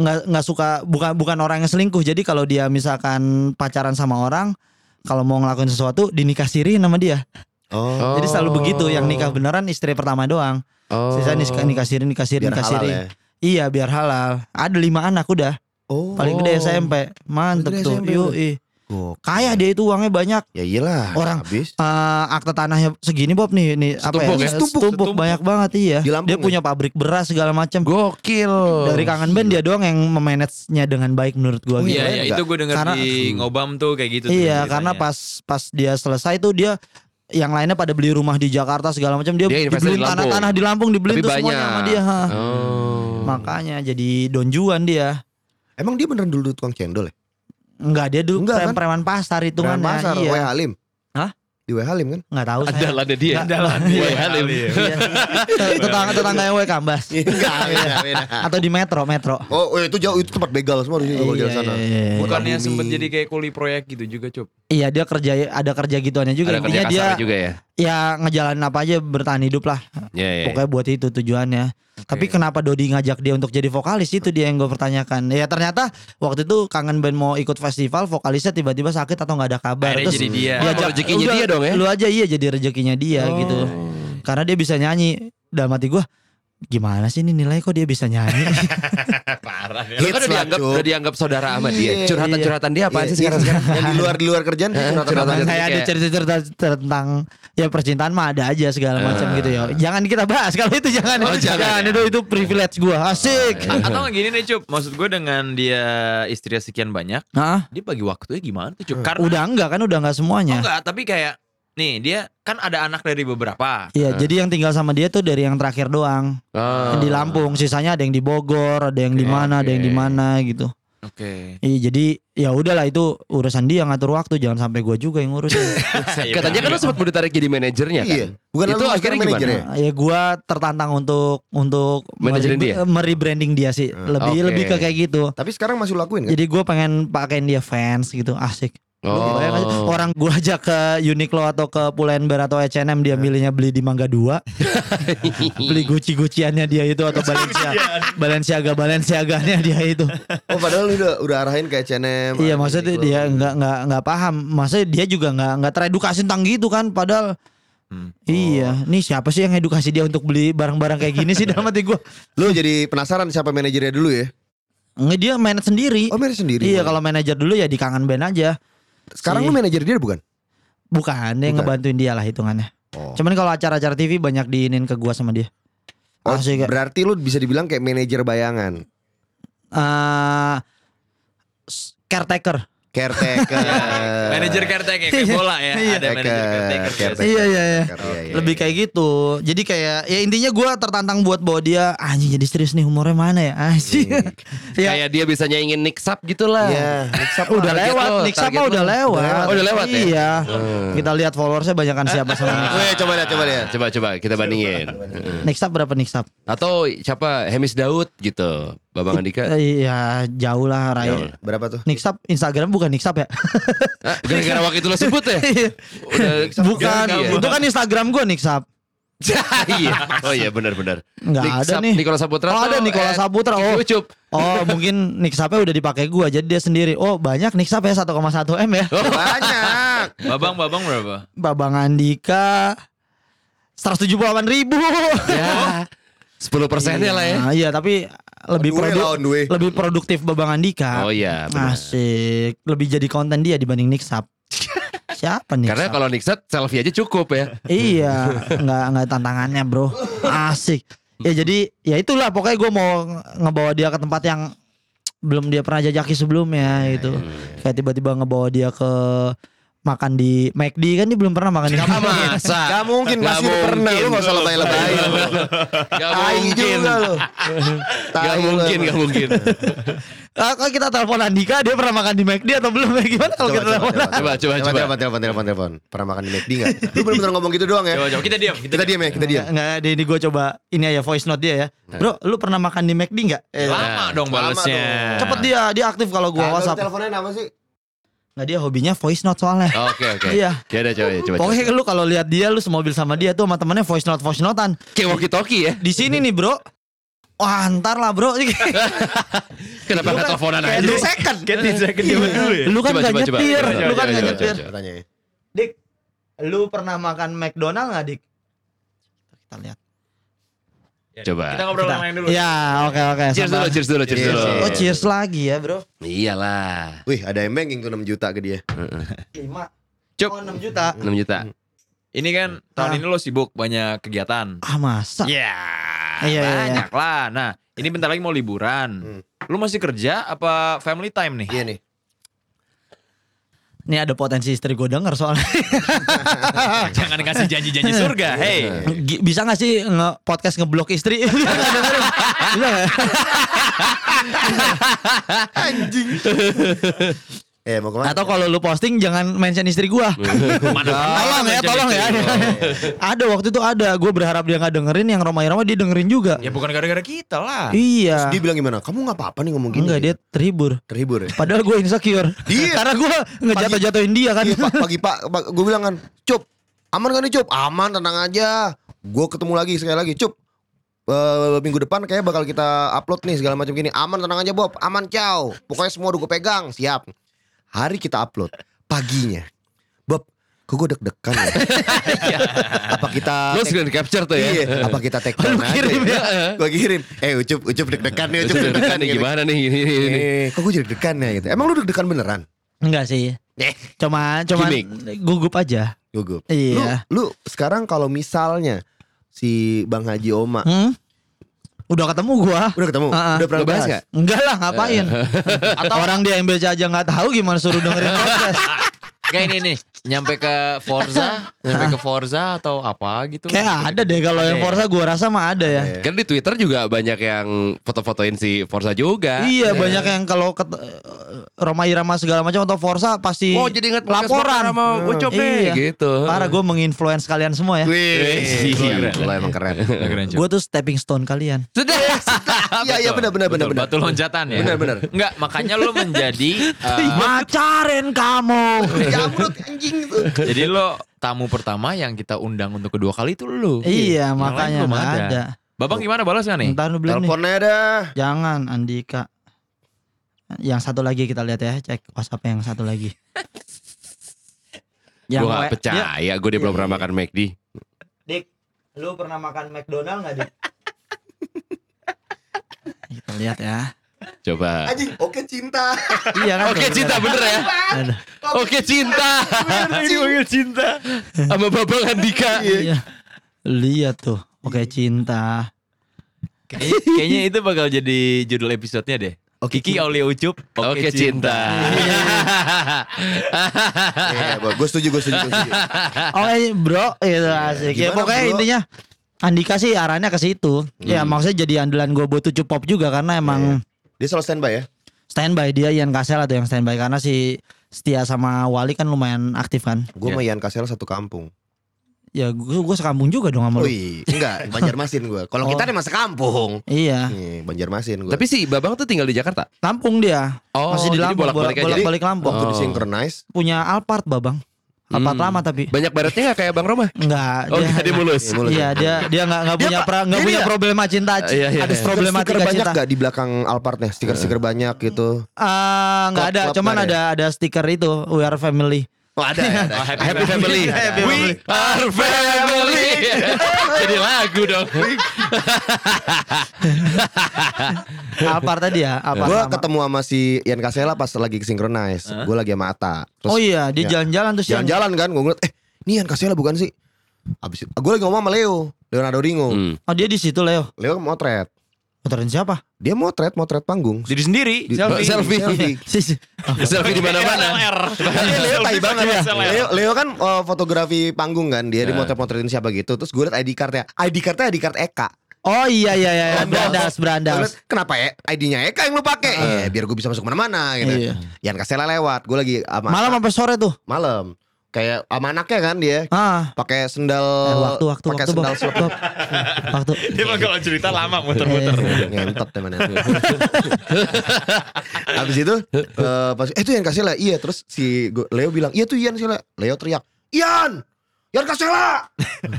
Speaker 5: nggak nggak suka bukan bukan orang yang selingkuh jadi kalau dia misalkan pacaran sama orang kalau mau ngelakuin sesuatu dinikah siri nama dia
Speaker 2: Oh.
Speaker 5: jadi selalu begitu yang nikah beneran istri pertama doang
Speaker 3: Oh.
Speaker 5: sisa nikah nikah siri nikah siri
Speaker 2: Biar
Speaker 5: nikah
Speaker 2: halal
Speaker 5: siri
Speaker 2: ya.
Speaker 5: iya biar halal ada lima anak udah
Speaker 2: Oh.
Speaker 3: Oh.
Speaker 5: paling gede SMP mantep
Speaker 2: Paling gede
Speaker 5: tuh
Speaker 2: SMP.
Speaker 5: yoi
Speaker 2: Gokil.
Speaker 5: kaya dia itu uangnya banyak
Speaker 2: Ya iyalah.
Speaker 5: Orang. <laughs>
Speaker 2: habis.
Speaker 5: Eh, akta tanahnya segini Bob nih ini
Speaker 3: Setumpuk
Speaker 5: apa
Speaker 3: ya?
Speaker 5: ya? Setumpuk, banyak banget iya.
Speaker 2: Di Lampung
Speaker 5: Dia
Speaker 2: ya?
Speaker 5: punya pabrik beras segala macam.
Speaker 3: Gokil.
Speaker 5: Dari kangen band dia doang yang memanage-nya dengan baik menurut gua
Speaker 2: Oh,
Speaker 5: gitu.
Speaker 6: Iya,
Speaker 2: Keren
Speaker 6: iya,
Speaker 2: nggak?
Speaker 6: itu gue denger
Speaker 5: Karena-
Speaker 6: di ngobam tuh kayak gitu. tuh
Speaker 5: Iya,
Speaker 6: ceritanya.
Speaker 5: karena pas pas dia selesai tuh dia yang lainnya pada beli rumah di Jakarta segala macam dia,
Speaker 3: Dia investasi di
Speaker 5: dibeliin
Speaker 3: Lampung.
Speaker 5: tanah-tanah di Lampung dibeliin
Speaker 3: Tapi
Speaker 5: tuh
Speaker 3: banyak.
Speaker 5: semuanya sama dia. ha.
Speaker 3: Oh.
Speaker 5: Makanya jadi donjuan dia.
Speaker 2: Emang dia beneran dulu tukang cendol ya?
Speaker 5: Enggak, dia dulu
Speaker 2: Enggak, kan?
Speaker 5: pre- preman pasar hitungannya.
Speaker 2: Tukang pasar,
Speaker 5: iya.
Speaker 2: W Halim.
Speaker 5: Hah?
Speaker 2: Di W Halim
Speaker 5: <laughs>
Speaker 2: kan?
Speaker 5: Enggak tahu saya.
Speaker 3: Andalan dia.
Speaker 5: Andalan
Speaker 3: Wah,
Speaker 5: dia.
Speaker 3: Halim.
Speaker 5: Iya. Tetangga tetangga yang W Kambas.
Speaker 2: Enggak, beda, beda.
Speaker 5: Atau di metro, metro.
Speaker 2: Oh, eh, itu jauh itu tempat begal semua di situ kalau
Speaker 5: Iya,
Speaker 2: jalan sana.
Speaker 5: iya, iya, iya.
Speaker 6: Bukannya
Speaker 2: Bumi.
Speaker 6: sempet jadi kayak kuli proyek gitu juga, Cup.
Speaker 5: Iya dia kerja ada kerja gituannya juga
Speaker 3: Ada kerja
Speaker 5: intinya dia
Speaker 3: kasar juga ya.
Speaker 5: ya ngejalanin apa aja bertahan hidup lah
Speaker 3: Ya, ya.
Speaker 5: pokoknya buat itu tujuannya. Tapi kenapa Dodi ngajak dia untuk jadi vokalis itu dia yang gue pertanyakan. Ya ternyata waktu itu kangen band mau ikut festival vokalisnya tiba-tiba sakit atau nggak ada kabar
Speaker 6: Akhirnya
Speaker 5: terus
Speaker 6: jadi dia.
Speaker 5: diajak,
Speaker 3: Oh, rezekinya
Speaker 5: "Udah,
Speaker 3: dia dong ya?"
Speaker 5: Lu aja iya jadi rezekinya dia gitu. Karena dia bisa nyanyi dalam hati gue gimana sih ini nilai kok dia bisa nyanyi
Speaker 3: Lu kan
Speaker 2: Hits
Speaker 3: udah
Speaker 2: lah,
Speaker 3: dianggap
Speaker 2: Cuk.
Speaker 3: udah dianggap saudara sama dia.
Speaker 2: Iya,
Speaker 3: Curhatan-curhatan dia apaan
Speaker 2: Iya,
Speaker 3: sih
Speaker 2: iya,
Speaker 3: sekarang? Oh,
Speaker 2: sekarang yang di luar di luar kerjaan
Speaker 3: Eh,
Speaker 2: curhatan
Speaker 3: curhatan.
Speaker 2: curhatan.
Speaker 5: kayak ada
Speaker 3: kayak-
Speaker 5: cerita-cerita tentang ya percintaan mah ada aja segala macam gitu ya jangan kita bahas kalau itu jangan
Speaker 3: Eh. Oh,
Speaker 5: itu
Speaker 3: jangan. Oh, iya.
Speaker 5: jangan itu itu privilege gua asik
Speaker 6: A- Atau nggak gini deh, Cup. Maksud gue dengan dia istrinya sekian banyak,
Speaker 5: Nah,
Speaker 6: dia bagi waktunya gimana tuh, Cup? Karena
Speaker 5: udah enggak kan udah enggak
Speaker 6: Oh,
Speaker 5: semuanya
Speaker 6: enggak, tapi kayak nih dia kan ada anak dari beberapa.
Speaker 3: Hmm.
Speaker 5: Iya, jadi yang tinggal sama dia tuh dari yang terakhir doang.
Speaker 3: Ah.
Speaker 5: Yang Kan di Lampung, sisanya ada yang di Bogor, ada yang di
Speaker 3: Oke,
Speaker 5: mana, ada yang di
Speaker 3: oke.
Speaker 5: mana gitu.
Speaker 6: Oke.
Speaker 5: Iya, jadi ya udahlah itu urusan dia ngatur waktu, jangan sampai gua juga
Speaker 3: <laughs>
Speaker 5: yang ngurus.
Speaker 3: Katanya kan lu sempat udah ditarik jadi manajernya kan?
Speaker 2: Iya. Bukan
Speaker 3: Itu
Speaker 2: lu sekarang
Speaker 3: akhirnya
Speaker 2: manajer
Speaker 3: gimana?
Speaker 2: ya?
Speaker 5: ya gua tertantang untuk untuk
Speaker 3: Manajerin
Speaker 5: merib-
Speaker 3: dia? Hmm,
Speaker 5: eh, merebranding dia sih. Lebih
Speaker 3: Oke.
Speaker 5: lebih ke kayak gitu.
Speaker 2: Tapi sekarang masih lu lakuin kan?
Speaker 5: Jadi gua pengen pakein dia fans gitu, asik. Lu kebayang nggak sih?
Speaker 3: Oh. <laughs>
Speaker 5: Orang gua ajak ke Uniqlo atau ke Pull&Bear atau H&M
Speaker 3: Hmm.
Speaker 5: dia milihnya beli di Mangga 2. beli guci-guciannya dia itu
Speaker 3: <laughs>
Speaker 5: atau Balenciaga. Balenciaga Balenciaganya dia itu.
Speaker 2: Oh, padahal lu udah udah arahin ke CNM.
Speaker 5: iya, maksudnya
Speaker 2: gitu.
Speaker 5: dia nggak nggak nggak paham. Maksudnya dia juga nggak nggak teredukasi tentang gitu kan padahal
Speaker 6: Hmm.
Speaker 2: Oh.
Speaker 5: Iya, nih siapa sih yang edukasi dia untuk beli barang-barang kayak gini
Speaker 2: <laughs>
Speaker 5: sih dalam hati gua.
Speaker 2: Lu jadi penasaran siapa manajernya dulu ya?
Speaker 5: Nggak dia manage sendiri.
Speaker 2: Oh, manajer sendiri.
Speaker 5: iya, kalau manajer dulu ya di kangen band aja.
Speaker 2: sekarang
Speaker 5: si-
Speaker 2: lu manajer dia bukan?
Speaker 5: Bukan, dia
Speaker 2: Bukan.
Speaker 5: ngebantuin dia lah hitungannya.
Speaker 2: Oh.
Speaker 5: Cuman kalau acara-acara TV banyak diinin ke gua sama dia.
Speaker 2: Oh,
Speaker 5: Asik ya.
Speaker 2: berarti lu bisa dibilang kayak manajer bayangan.
Speaker 5: eh s- caretaker.
Speaker 2: Caretaker.
Speaker 6: <laughs> Manajer caretaker kayak bola ya,
Speaker 5: Iya.
Speaker 6: ada manajer caretaker.
Speaker 2: Caretaker.
Speaker 5: Iya iya iya.
Speaker 2: Caretaker, iya, iya,
Speaker 5: Lebih
Speaker 2: iya.
Speaker 5: kayak gitu. Jadi kayak ya intinya gua tertantang buat bawa dia anjing jadi serius nih umurnya mana ya? Anjing. <laughs> ya
Speaker 3: Kayak dia bisa nyaingin Nick Sub gitu lah.
Speaker 2: Iya.
Speaker 5: <laughs> udah
Speaker 3: target
Speaker 5: lewat,
Speaker 3: lo,
Speaker 5: Nick Sapa
Speaker 3: target
Speaker 5: udah
Speaker 3: lo.
Speaker 5: lewat.
Speaker 3: Oh, udah lewat ya?
Speaker 5: Iya. Kita lihat followersnya banyak kan siapa sama Nick.
Speaker 2: Weh, coba lihat, coba lihat.
Speaker 3: Ah. Coba coba kita bandingin.
Speaker 5: Nick Sap berapa Nick Sap?
Speaker 3: Atau siapa Hemis Daud gitu. Babang Andika.
Speaker 5: Eh, Iya, jauh lah Rai.
Speaker 3: Jauh lah.
Speaker 2: Berapa tuh?
Speaker 5: Nick Sap Instagram bukan Nick <laughs> Sap ya?
Speaker 3: Ah, Gara-gara waktu itu lo sebut ya. Udah
Speaker 5: bukan.
Speaker 3: ganti ya?
Speaker 5: Itu kan Instagram gua Nick Sap.
Speaker 3: <laughs> Iya. oh iya benar-benar.
Speaker 5: Nggak
Speaker 3: Nick
Speaker 5: ada
Speaker 3: Sap-
Speaker 5: nih.
Speaker 3: Nicola Saputra.
Speaker 5: Oh, ada Nicola Saputra. Oh,
Speaker 3: Cucup.
Speaker 5: oh mungkin Nick Sapnya udah dipakai gua jadi dia sendiri. Oh, banyak Nick Sap ya 1,1 M ya.
Speaker 2: Banyak.
Speaker 4: Babang babang berapa?
Speaker 5: Babang Andika 178 ribu. Iya,
Speaker 3: Ya. 10 persennya lah ya.
Speaker 5: Nah, iya, tapi lebih
Speaker 2: Duwe
Speaker 5: produ-
Speaker 2: lawan duwe.
Speaker 5: lebih produktif Babang Andika.
Speaker 3: Oh iya benar.
Speaker 5: Asik. Lebih jadi konten dia dibanding Nick
Speaker 3: <laughs>
Speaker 5: Sap. Siapa Nick
Speaker 3: Karena
Speaker 5: Sap?
Speaker 3: kalau Nixat selfie aja cukup ya.
Speaker 5: Iya, nggak nggak tantangannya bro. Asik. Ya jadi ya itulah pokoknya gue mau nge- ngebawa dia ke tempat yang belum dia pernah jajaki
Speaker 3: Iya,
Speaker 5: sebelumnya gitu. Kayak tiba-tiba ngebawa dia ke makan di McD kan dia belum pernah makan di
Speaker 2: Gak masa. Gak mungkin pasti pernah lu gak usah <laughs> lebay-lebay.
Speaker 3: Gak
Speaker 2: Tai
Speaker 3: mungkin.
Speaker 2: juga lu.
Speaker 3: Gak
Speaker 2: Tai lu.
Speaker 3: mungkin, gak mungkin.
Speaker 5: <laughs> Ah, kalau kita telepon Andika dia pernah makan di McD atau belum <laughs> ya gimana kalau kita telepon?
Speaker 3: Coba, coba, coba.
Speaker 2: Telepon, telepon, telepon, telepon. Pernah makan di McD gak? Lu bener-bener ngomong gitu doang ya?
Speaker 4: Coba coba kita diam.
Speaker 2: Kita diam ya, kita diam.
Speaker 5: Nggak, ada ini gue coba ini aja voice note dia ya.
Speaker 3: Nah.
Speaker 5: Bro, lu pernah makan di McD nggak? Eh,
Speaker 4: Lama dong balesnya.
Speaker 5: cepet dia, dia aktif kalau gue
Speaker 2: Nah, lu
Speaker 5: WhatsApp.
Speaker 2: Teleponnya apa sih?
Speaker 5: Nggak dia hobinya voice note soalnya.
Speaker 3: Oke, oke.
Speaker 5: Iya.
Speaker 3: Ya udah coba, coba.
Speaker 5: Pokoknya lu kalau lihat dia lu semobil sama dia tuh sama temennya voice note voice notean.
Speaker 3: Kayak walkie-talkie ya.
Speaker 5: Di sini nih, Bro. Wah, ntar lah, Bro. <laughs> Kayak
Speaker 3: Kenapa
Speaker 5: Lu
Speaker 3: gak
Speaker 5: kan-
Speaker 3: teleponan aja? Iya,
Speaker 5: dua second.
Speaker 4: dulu
Speaker 5: Lu kan
Speaker 3: Coba, coba,
Speaker 5: gak
Speaker 3: coba.
Speaker 5: nyetir,
Speaker 3: Coba,
Speaker 5: lu kan
Speaker 3: coba,
Speaker 5: gak
Speaker 3: coba,
Speaker 5: nyetir.
Speaker 3: coba,
Speaker 2: Tanya ya.
Speaker 5: Dik, lu pernah makan McDonald gak, Dik? Kita lihat.
Speaker 3: Coba.
Speaker 4: Kita ngobrol
Speaker 5: Kita-
Speaker 4: yang lain dulu.
Speaker 5: Ya, oke oke.
Speaker 3: Cheers dulu,
Speaker 5: sabar.
Speaker 3: cheers dulu, cheers dulu.
Speaker 5: Oh, cheers lagi ya, Bro.
Speaker 3: Iyalah.
Speaker 2: Wih ada yang banking tuh 6 juta ke dia
Speaker 5: 5.
Speaker 4: Cuk.
Speaker 5: Oh, 6 juta.
Speaker 3: 6 juta.
Speaker 4: Ini kan tahun ini lo sibuk banyak kegiatan.
Speaker 5: Ah, masa?
Speaker 3: Iya.
Speaker 4: Ya,
Speaker 5: Iya, iya,
Speaker 4: banyak lah. Nah, ini bentar lagi mau liburan. Lu masih kerja apa family time nih?
Speaker 2: Hmm. Iya nih
Speaker 5: Ini ada potensi istri gue denger soalnya.
Speaker 4: Jangan kasih janji-janji surga.
Speaker 5: Iya.
Speaker 4: Hey,
Speaker 5: Gi- Bisa gak sih nge podcast ngeblok istri? <laughs> Bisa nggak dengerin? Bisa nggak?
Speaker 2: Eh mau kemana?
Speaker 5: Atau kalau lu posting jangan mention istri gua.
Speaker 2: Iya.
Speaker 5: tolong ya, tolong ya. <laughs> ada waktu itu ada, gua berharap dia nggak dengerin yang Roma-Roma dia dengerin juga.
Speaker 2: Iya.
Speaker 4: ya bukan gara-gara kita lah.
Speaker 5: Iya.
Speaker 2: Dia bilang gimana? Kamu gak apa-apa nih ngomong gini
Speaker 5: Enggak dia terhibur. <laughs>
Speaker 2: Terhibur ya?
Speaker 5: Padahal gue insecure.
Speaker 2: Iya.
Speaker 5: Karena gue ngejatuh-jatuhin dia kan.
Speaker 2: Iya pak, pagi pak, gue bilang kan Cup, aman kan nih Cup? Aman, tenang aja Gue ketemu lagi sekali lagi Cup, eh, minggu depan kayaknya bakal kita upload nih segala macam gini Aman, tenang aja Bob, aman ciao Pokoknya semua udah gue pegang, siap Hari kita upload, paginya Bob, kok gue deg-degan ya? Apa kita
Speaker 3: Lu screen capture tuh ya.
Speaker 2: Iya, apa kita take down aja
Speaker 5: kirim
Speaker 2: ya? Gue kirim. Eh, ucup, ucup deg-degan nih, ucup
Speaker 3: Terus deg-degan
Speaker 2: deg-degan
Speaker 3: nih
Speaker 2: gitu.
Speaker 3: gimana nih gini, gini, gini.
Speaker 2: Eh, kok gue jadi deg-degan ya gitu. Emang lu deg-degan beneran? "Eh,
Speaker 5: Enggak sih. Cuma cuma
Speaker 3: Gimik.
Speaker 5: gugup aja.
Speaker 2: Gugup.
Speaker 5: Iya.
Speaker 2: Lu, lu sekarang kalau misalnya si Bang Haji Oma
Speaker 5: Hmm? Udah ketemu gua.
Speaker 2: udah ketemu,
Speaker 5: Ah, ah.
Speaker 2: udah pernah
Speaker 3: Lu bahas
Speaker 2: bahas
Speaker 3: nggak?
Speaker 2: nggak?
Speaker 5: Enggak lah
Speaker 2: <laughs>
Speaker 5: ngapain. Atau orang dia yang baca aja nggak tahu gimana suruh
Speaker 2: <laughs>
Speaker 5: dengerin podcast.
Speaker 3: Kayak ini nih, nyampe ke Forza, nyampe ke Forza atau apa gitu.
Speaker 5: Kayak ada deh kalau yang
Speaker 3: ya?
Speaker 5: Forza gua rasa mah ada ya.
Speaker 3: Kan di Twitter juga banyak yang foto-fotoin si Forza juga.
Speaker 5: Iya banyak yang kalau ke Roma Irama segala macam atau Forza pasti
Speaker 3: Oh jadi ingat podcast
Speaker 5: laporan
Speaker 3: Bakar sama Ucup nih
Speaker 5: Iya.
Speaker 3: gitu.
Speaker 5: Parah gue menginfluence kalian semua ya.
Speaker 3: Wih, gila.
Speaker 2: Lu emang keren.
Speaker 4: Keren, Cuk.
Speaker 5: Gue tuh stepping stone kalian.
Speaker 3: Sudah.
Speaker 2: Iya, iya benar benar benar
Speaker 4: Betul,
Speaker 2: benar.
Speaker 4: Batu loncatan ya.
Speaker 2: Benar, benar.
Speaker 4: Enggak, makanya lo menjadi eh,
Speaker 5: Macarin kamu.
Speaker 2: Jamrut anjing tuh.
Speaker 4: jadi lo tamu pertama yang kita undang untuk kedua kali itu lo. Yang
Speaker 5: iya makanya
Speaker 4: lain belum
Speaker 5: nggak ada.
Speaker 4: Babang gimana balas gak nih?
Speaker 5: Ntar lu beli nih.
Speaker 2: Telepon aja dah.
Speaker 5: Jangan Andika. Yang satu lagi kita lihat ya, cek WhatsApp yang satu lagi.
Speaker 3: Gue
Speaker 5: W-
Speaker 3: gak
Speaker 5: Dia,
Speaker 3: percaya, gue dia
Speaker 5: Iya,
Speaker 3: belum pernah makan McD.
Speaker 5: Dik, lu pernah makan McDonald nggak Dik? kita lihat ya.
Speaker 3: Coba.
Speaker 2: Anjing, oke cinta.
Speaker 5: Iya kan.
Speaker 3: Oke cinta bener ya.
Speaker 5: Aduh.
Speaker 3: Oke cinta. Dipanggil cinta. Sama Babang Andika.
Speaker 5: Iya. Lihat tuh. Oke cinta.
Speaker 3: <laughs>
Speaker 4: Kayaknya, kayaknya itu bakal jadi judul episodenya deh.
Speaker 5: Oke,
Speaker 4: Kiki Aulia Ucup.
Speaker 3: Oke
Speaker 7: <laughs>
Speaker 3: cinta.
Speaker 2: Iya, gue setuju, gue setuju, gue setuju.
Speaker 5: Oke bro gitu asik. Ya,
Speaker 2: Gimana,
Speaker 5: pokoknya
Speaker 2: bro?
Speaker 5: intinya Andika sih arahnya ke situ. Ya maksudnya jadi andalan gue buat tujuh pop juga karena emang
Speaker 2: Dia selalu standby ya.
Speaker 5: standby dia Ian Kasel atau yang standby karena si Setia sama Wali kan lumayan aktif kan.
Speaker 2: Gue sama Ian Kasel satu kampung.
Speaker 5: Ya gue gue sekampung juga dong sama lu.
Speaker 2: Wih, enggak, Banjarmasin gue. Kalau kita
Speaker 5: Oh.
Speaker 2: nih masa kampung.
Speaker 5: Iya,
Speaker 2: Nih, Banjarmasin gue.
Speaker 3: Tapi si Babang tuh tinggal di Jakarta.
Speaker 5: Lampung dia.
Speaker 3: Oh,
Speaker 5: Masih di
Speaker 3: jadi
Speaker 5: Lampung,
Speaker 3: bolak-balik
Speaker 5: bolak-balik
Speaker 3: aja.
Speaker 5: bolak-balik Lampung.
Speaker 2: waktu
Speaker 3: Oh.
Speaker 2: di synchronize
Speaker 5: Punya Alphard Babang. Empat
Speaker 3: Hmm.
Speaker 5: lama tapi
Speaker 3: Banyak baratnya gak kayak Bang Roma?
Speaker 5: Enggak
Speaker 3: Oh, dia, dia mulus.
Speaker 5: Iya dia dia nggak nggak punya pra, nggak
Speaker 2: dia
Speaker 5: punya
Speaker 2: dia.
Speaker 5: problema
Speaker 2: Ah,
Speaker 5: cinta
Speaker 3: Iya, iya,
Speaker 5: ada
Speaker 3: iya.
Speaker 2: Stiker
Speaker 5: problematika
Speaker 2: banyak
Speaker 5: cinta Eh.
Speaker 2: gak di belakang Alphardnya Stiker-stiker banyak gitu
Speaker 5: Ah, nggak ada
Speaker 2: Klop-klop
Speaker 5: cuman
Speaker 2: nggak
Speaker 5: ada ada stiker itu we are
Speaker 2: <laughs>
Speaker 5: family
Speaker 2: Oh
Speaker 5: <laughs>
Speaker 2: ada ya ada.
Speaker 5: happy family
Speaker 3: We are
Speaker 5: <laughs>
Speaker 3: family. Jadi lagu dong.
Speaker 5: apa tadi ya apa
Speaker 2: Gue
Speaker 5: sama-
Speaker 2: ketemu sama si Ian Kasela pas lagi synchronize Gue lagi sama Ata Terus
Speaker 5: oh iya dia
Speaker 2: Iya.
Speaker 5: jalan-jalan terus yang-
Speaker 2: jalan-jalan kan Gue ngeliat eh ini Ian Kasela bukan sih Abis itu Gue lagi ngomong sama Leo Leonardo Ringo
Speaker 3: Hmm.
Speaker 5: oh dia di situ Leo
Speaker 2: Leo motret
Speaker 5: motorin siapa
Speaker 2: Dia motret motret panggung
Speaker 4: Diri sendiri,
Speaker 2: Di-
Speaker 4: selfie.
Speaker 2: selfie.
Speaker 5: <laughs> si, si.
Speaker 3: Selfie di mana-mana.
Speaker 2: Tapi Leo tai banget ya. Leo, Leo kan eh, fotografi panggung kan, dia di
Speaker 5: Iya.
Speaker 2: motret-motretin siapa gitu. Terus gue liat ID cardnya, ID cardnya ID card Eka.
Speaker 5: oh iya iya iya
Speaker 2: Berandas.
Speaker 5: berandas
Speaker 2: Gua
Speaker 5: berandas
Speaker 2: liat, Kenapa ya ID-nya Eka yang lu pakai? Ya, biar gue bisa masuk kemana-mana gitu.
Speaker 5: Ah. Iya.
Speaker 2: Yan Kasela lewat, gue lagi sama
Speaker 5: malam sampai sore tuh
Speaker 2: malam. Kayak sama anaknya kan dia
Speaker 5: ah
Speaker 2: pakai sendal
Speaker 5: Eh, waktu waktu
Speaker 2: pakai
Speaker 5: waktu Bob.
Speaker 2: sendal slip.
Speaker 5: Bob. waktu Eh,
Speaker 6: Dia mah kalau cerita lama muter-muter.
Speaker 2: Ngentot teman <laughs> Habis itu eh, pas eh itu Yan Kasela. Iya, terus si gua- Leo bilang, "Iya tuh Yan Kasela." Leo teriak, "Yan! Yan
Speaker 5: <laughs>
Speaker 2: Kasela!"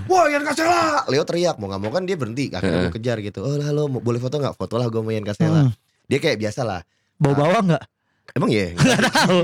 Speaker 2: Wah, Yan Kasela. Leo teriak, mau gak mau kan dia berhenti. Akhirnya gue kejar gitu. "Oh, lah, lo mau- boleh foto gak? Foto lah gue sama Yan Kasela."
Speaker 5: Hmm.
Speaker 2: Dia kayak biasa lah.
Speaker 5: bau bawang
Speaker 2: <laughs>
Speaker 5: nggak
Speaker 2: Emang
Speaker 5: <laughs>
Speaker 2: ya?
Speaker 5: tahu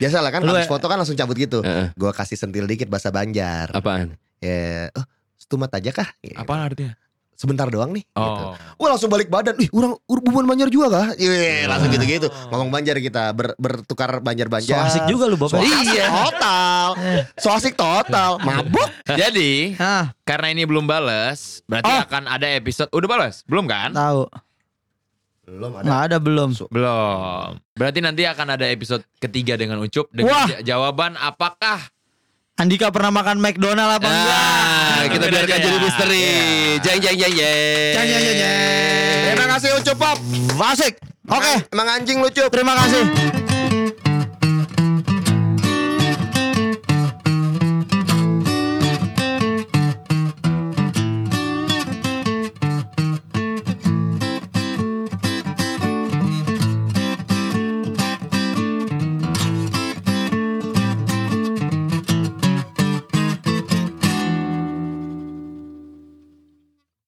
Speaker 2: biasa lah kan
Speaker 5: Lu- ya?
Speaker 2: habis foto kan langsung cabut gitu.
Speaker 3: Heeh.
Speaker 2: Gua kasih sentil dikit bahasa Banjar.
Speaker 3: Apaan?
Speaker 2: Ya, oh, setumat aja kah? Ya,
Speaker 6: Apa artinya?
Speaker 2: Sebentar doang nih. gitu.
Speaker 6: Oh.
Speaker 2: Wah langsung balik badan. Ih, orang ur- bubuan Banjar juga kah? Iya, langsung gitu-gitu. Ngomong Banjar kita ber- bertukar
Speaker 5: so
Speaker 2: Banjar-Banjar.
Speaker 5: asik juga Iya. lu
Speaker 2: So
Speaker 5: bapak
Speaker 2: asik total. So asik
Speaker 5: <laughs>
Speaker 2: total. Mabuk.
Speaker 7: <laughs> Jadi
Speaker 5: ah
Speaker 7: karena ini belum balas, berarti
Speaker 5: Oh.
Speaker 7: akan ada episode. Udah balas? Belum kan?
Speaker 5: tahu
Speaker 2: Belum
Speaker 5: nggak ada belum
Speaker 7: Belum. Berarti nanti akan ada episode ketiga dengan Ucup dengan
Speaker 5: Wah.
Speaker 7: ja- jawaban apakah
Speaker 5: Andika pernah makan McDonald apa enggak
Speaker 3: Ah, kita
Speaker 7: Ambil
Speaker 3: biarkan
Speaker 7: aja
Speaker 3: jadi
Speaker 7: ya.
Speaker 3: misteri. Jeng jeng jeng jeng.
Speaker 5: Iya. Jeng, jeng, jeng, jeng.
Speaker 2: Terima kasih Ucup Pop.
Speaker 5: ya, asik oke
Speaker 2: Emang anjing lucu.
Speaker 5: terima kasih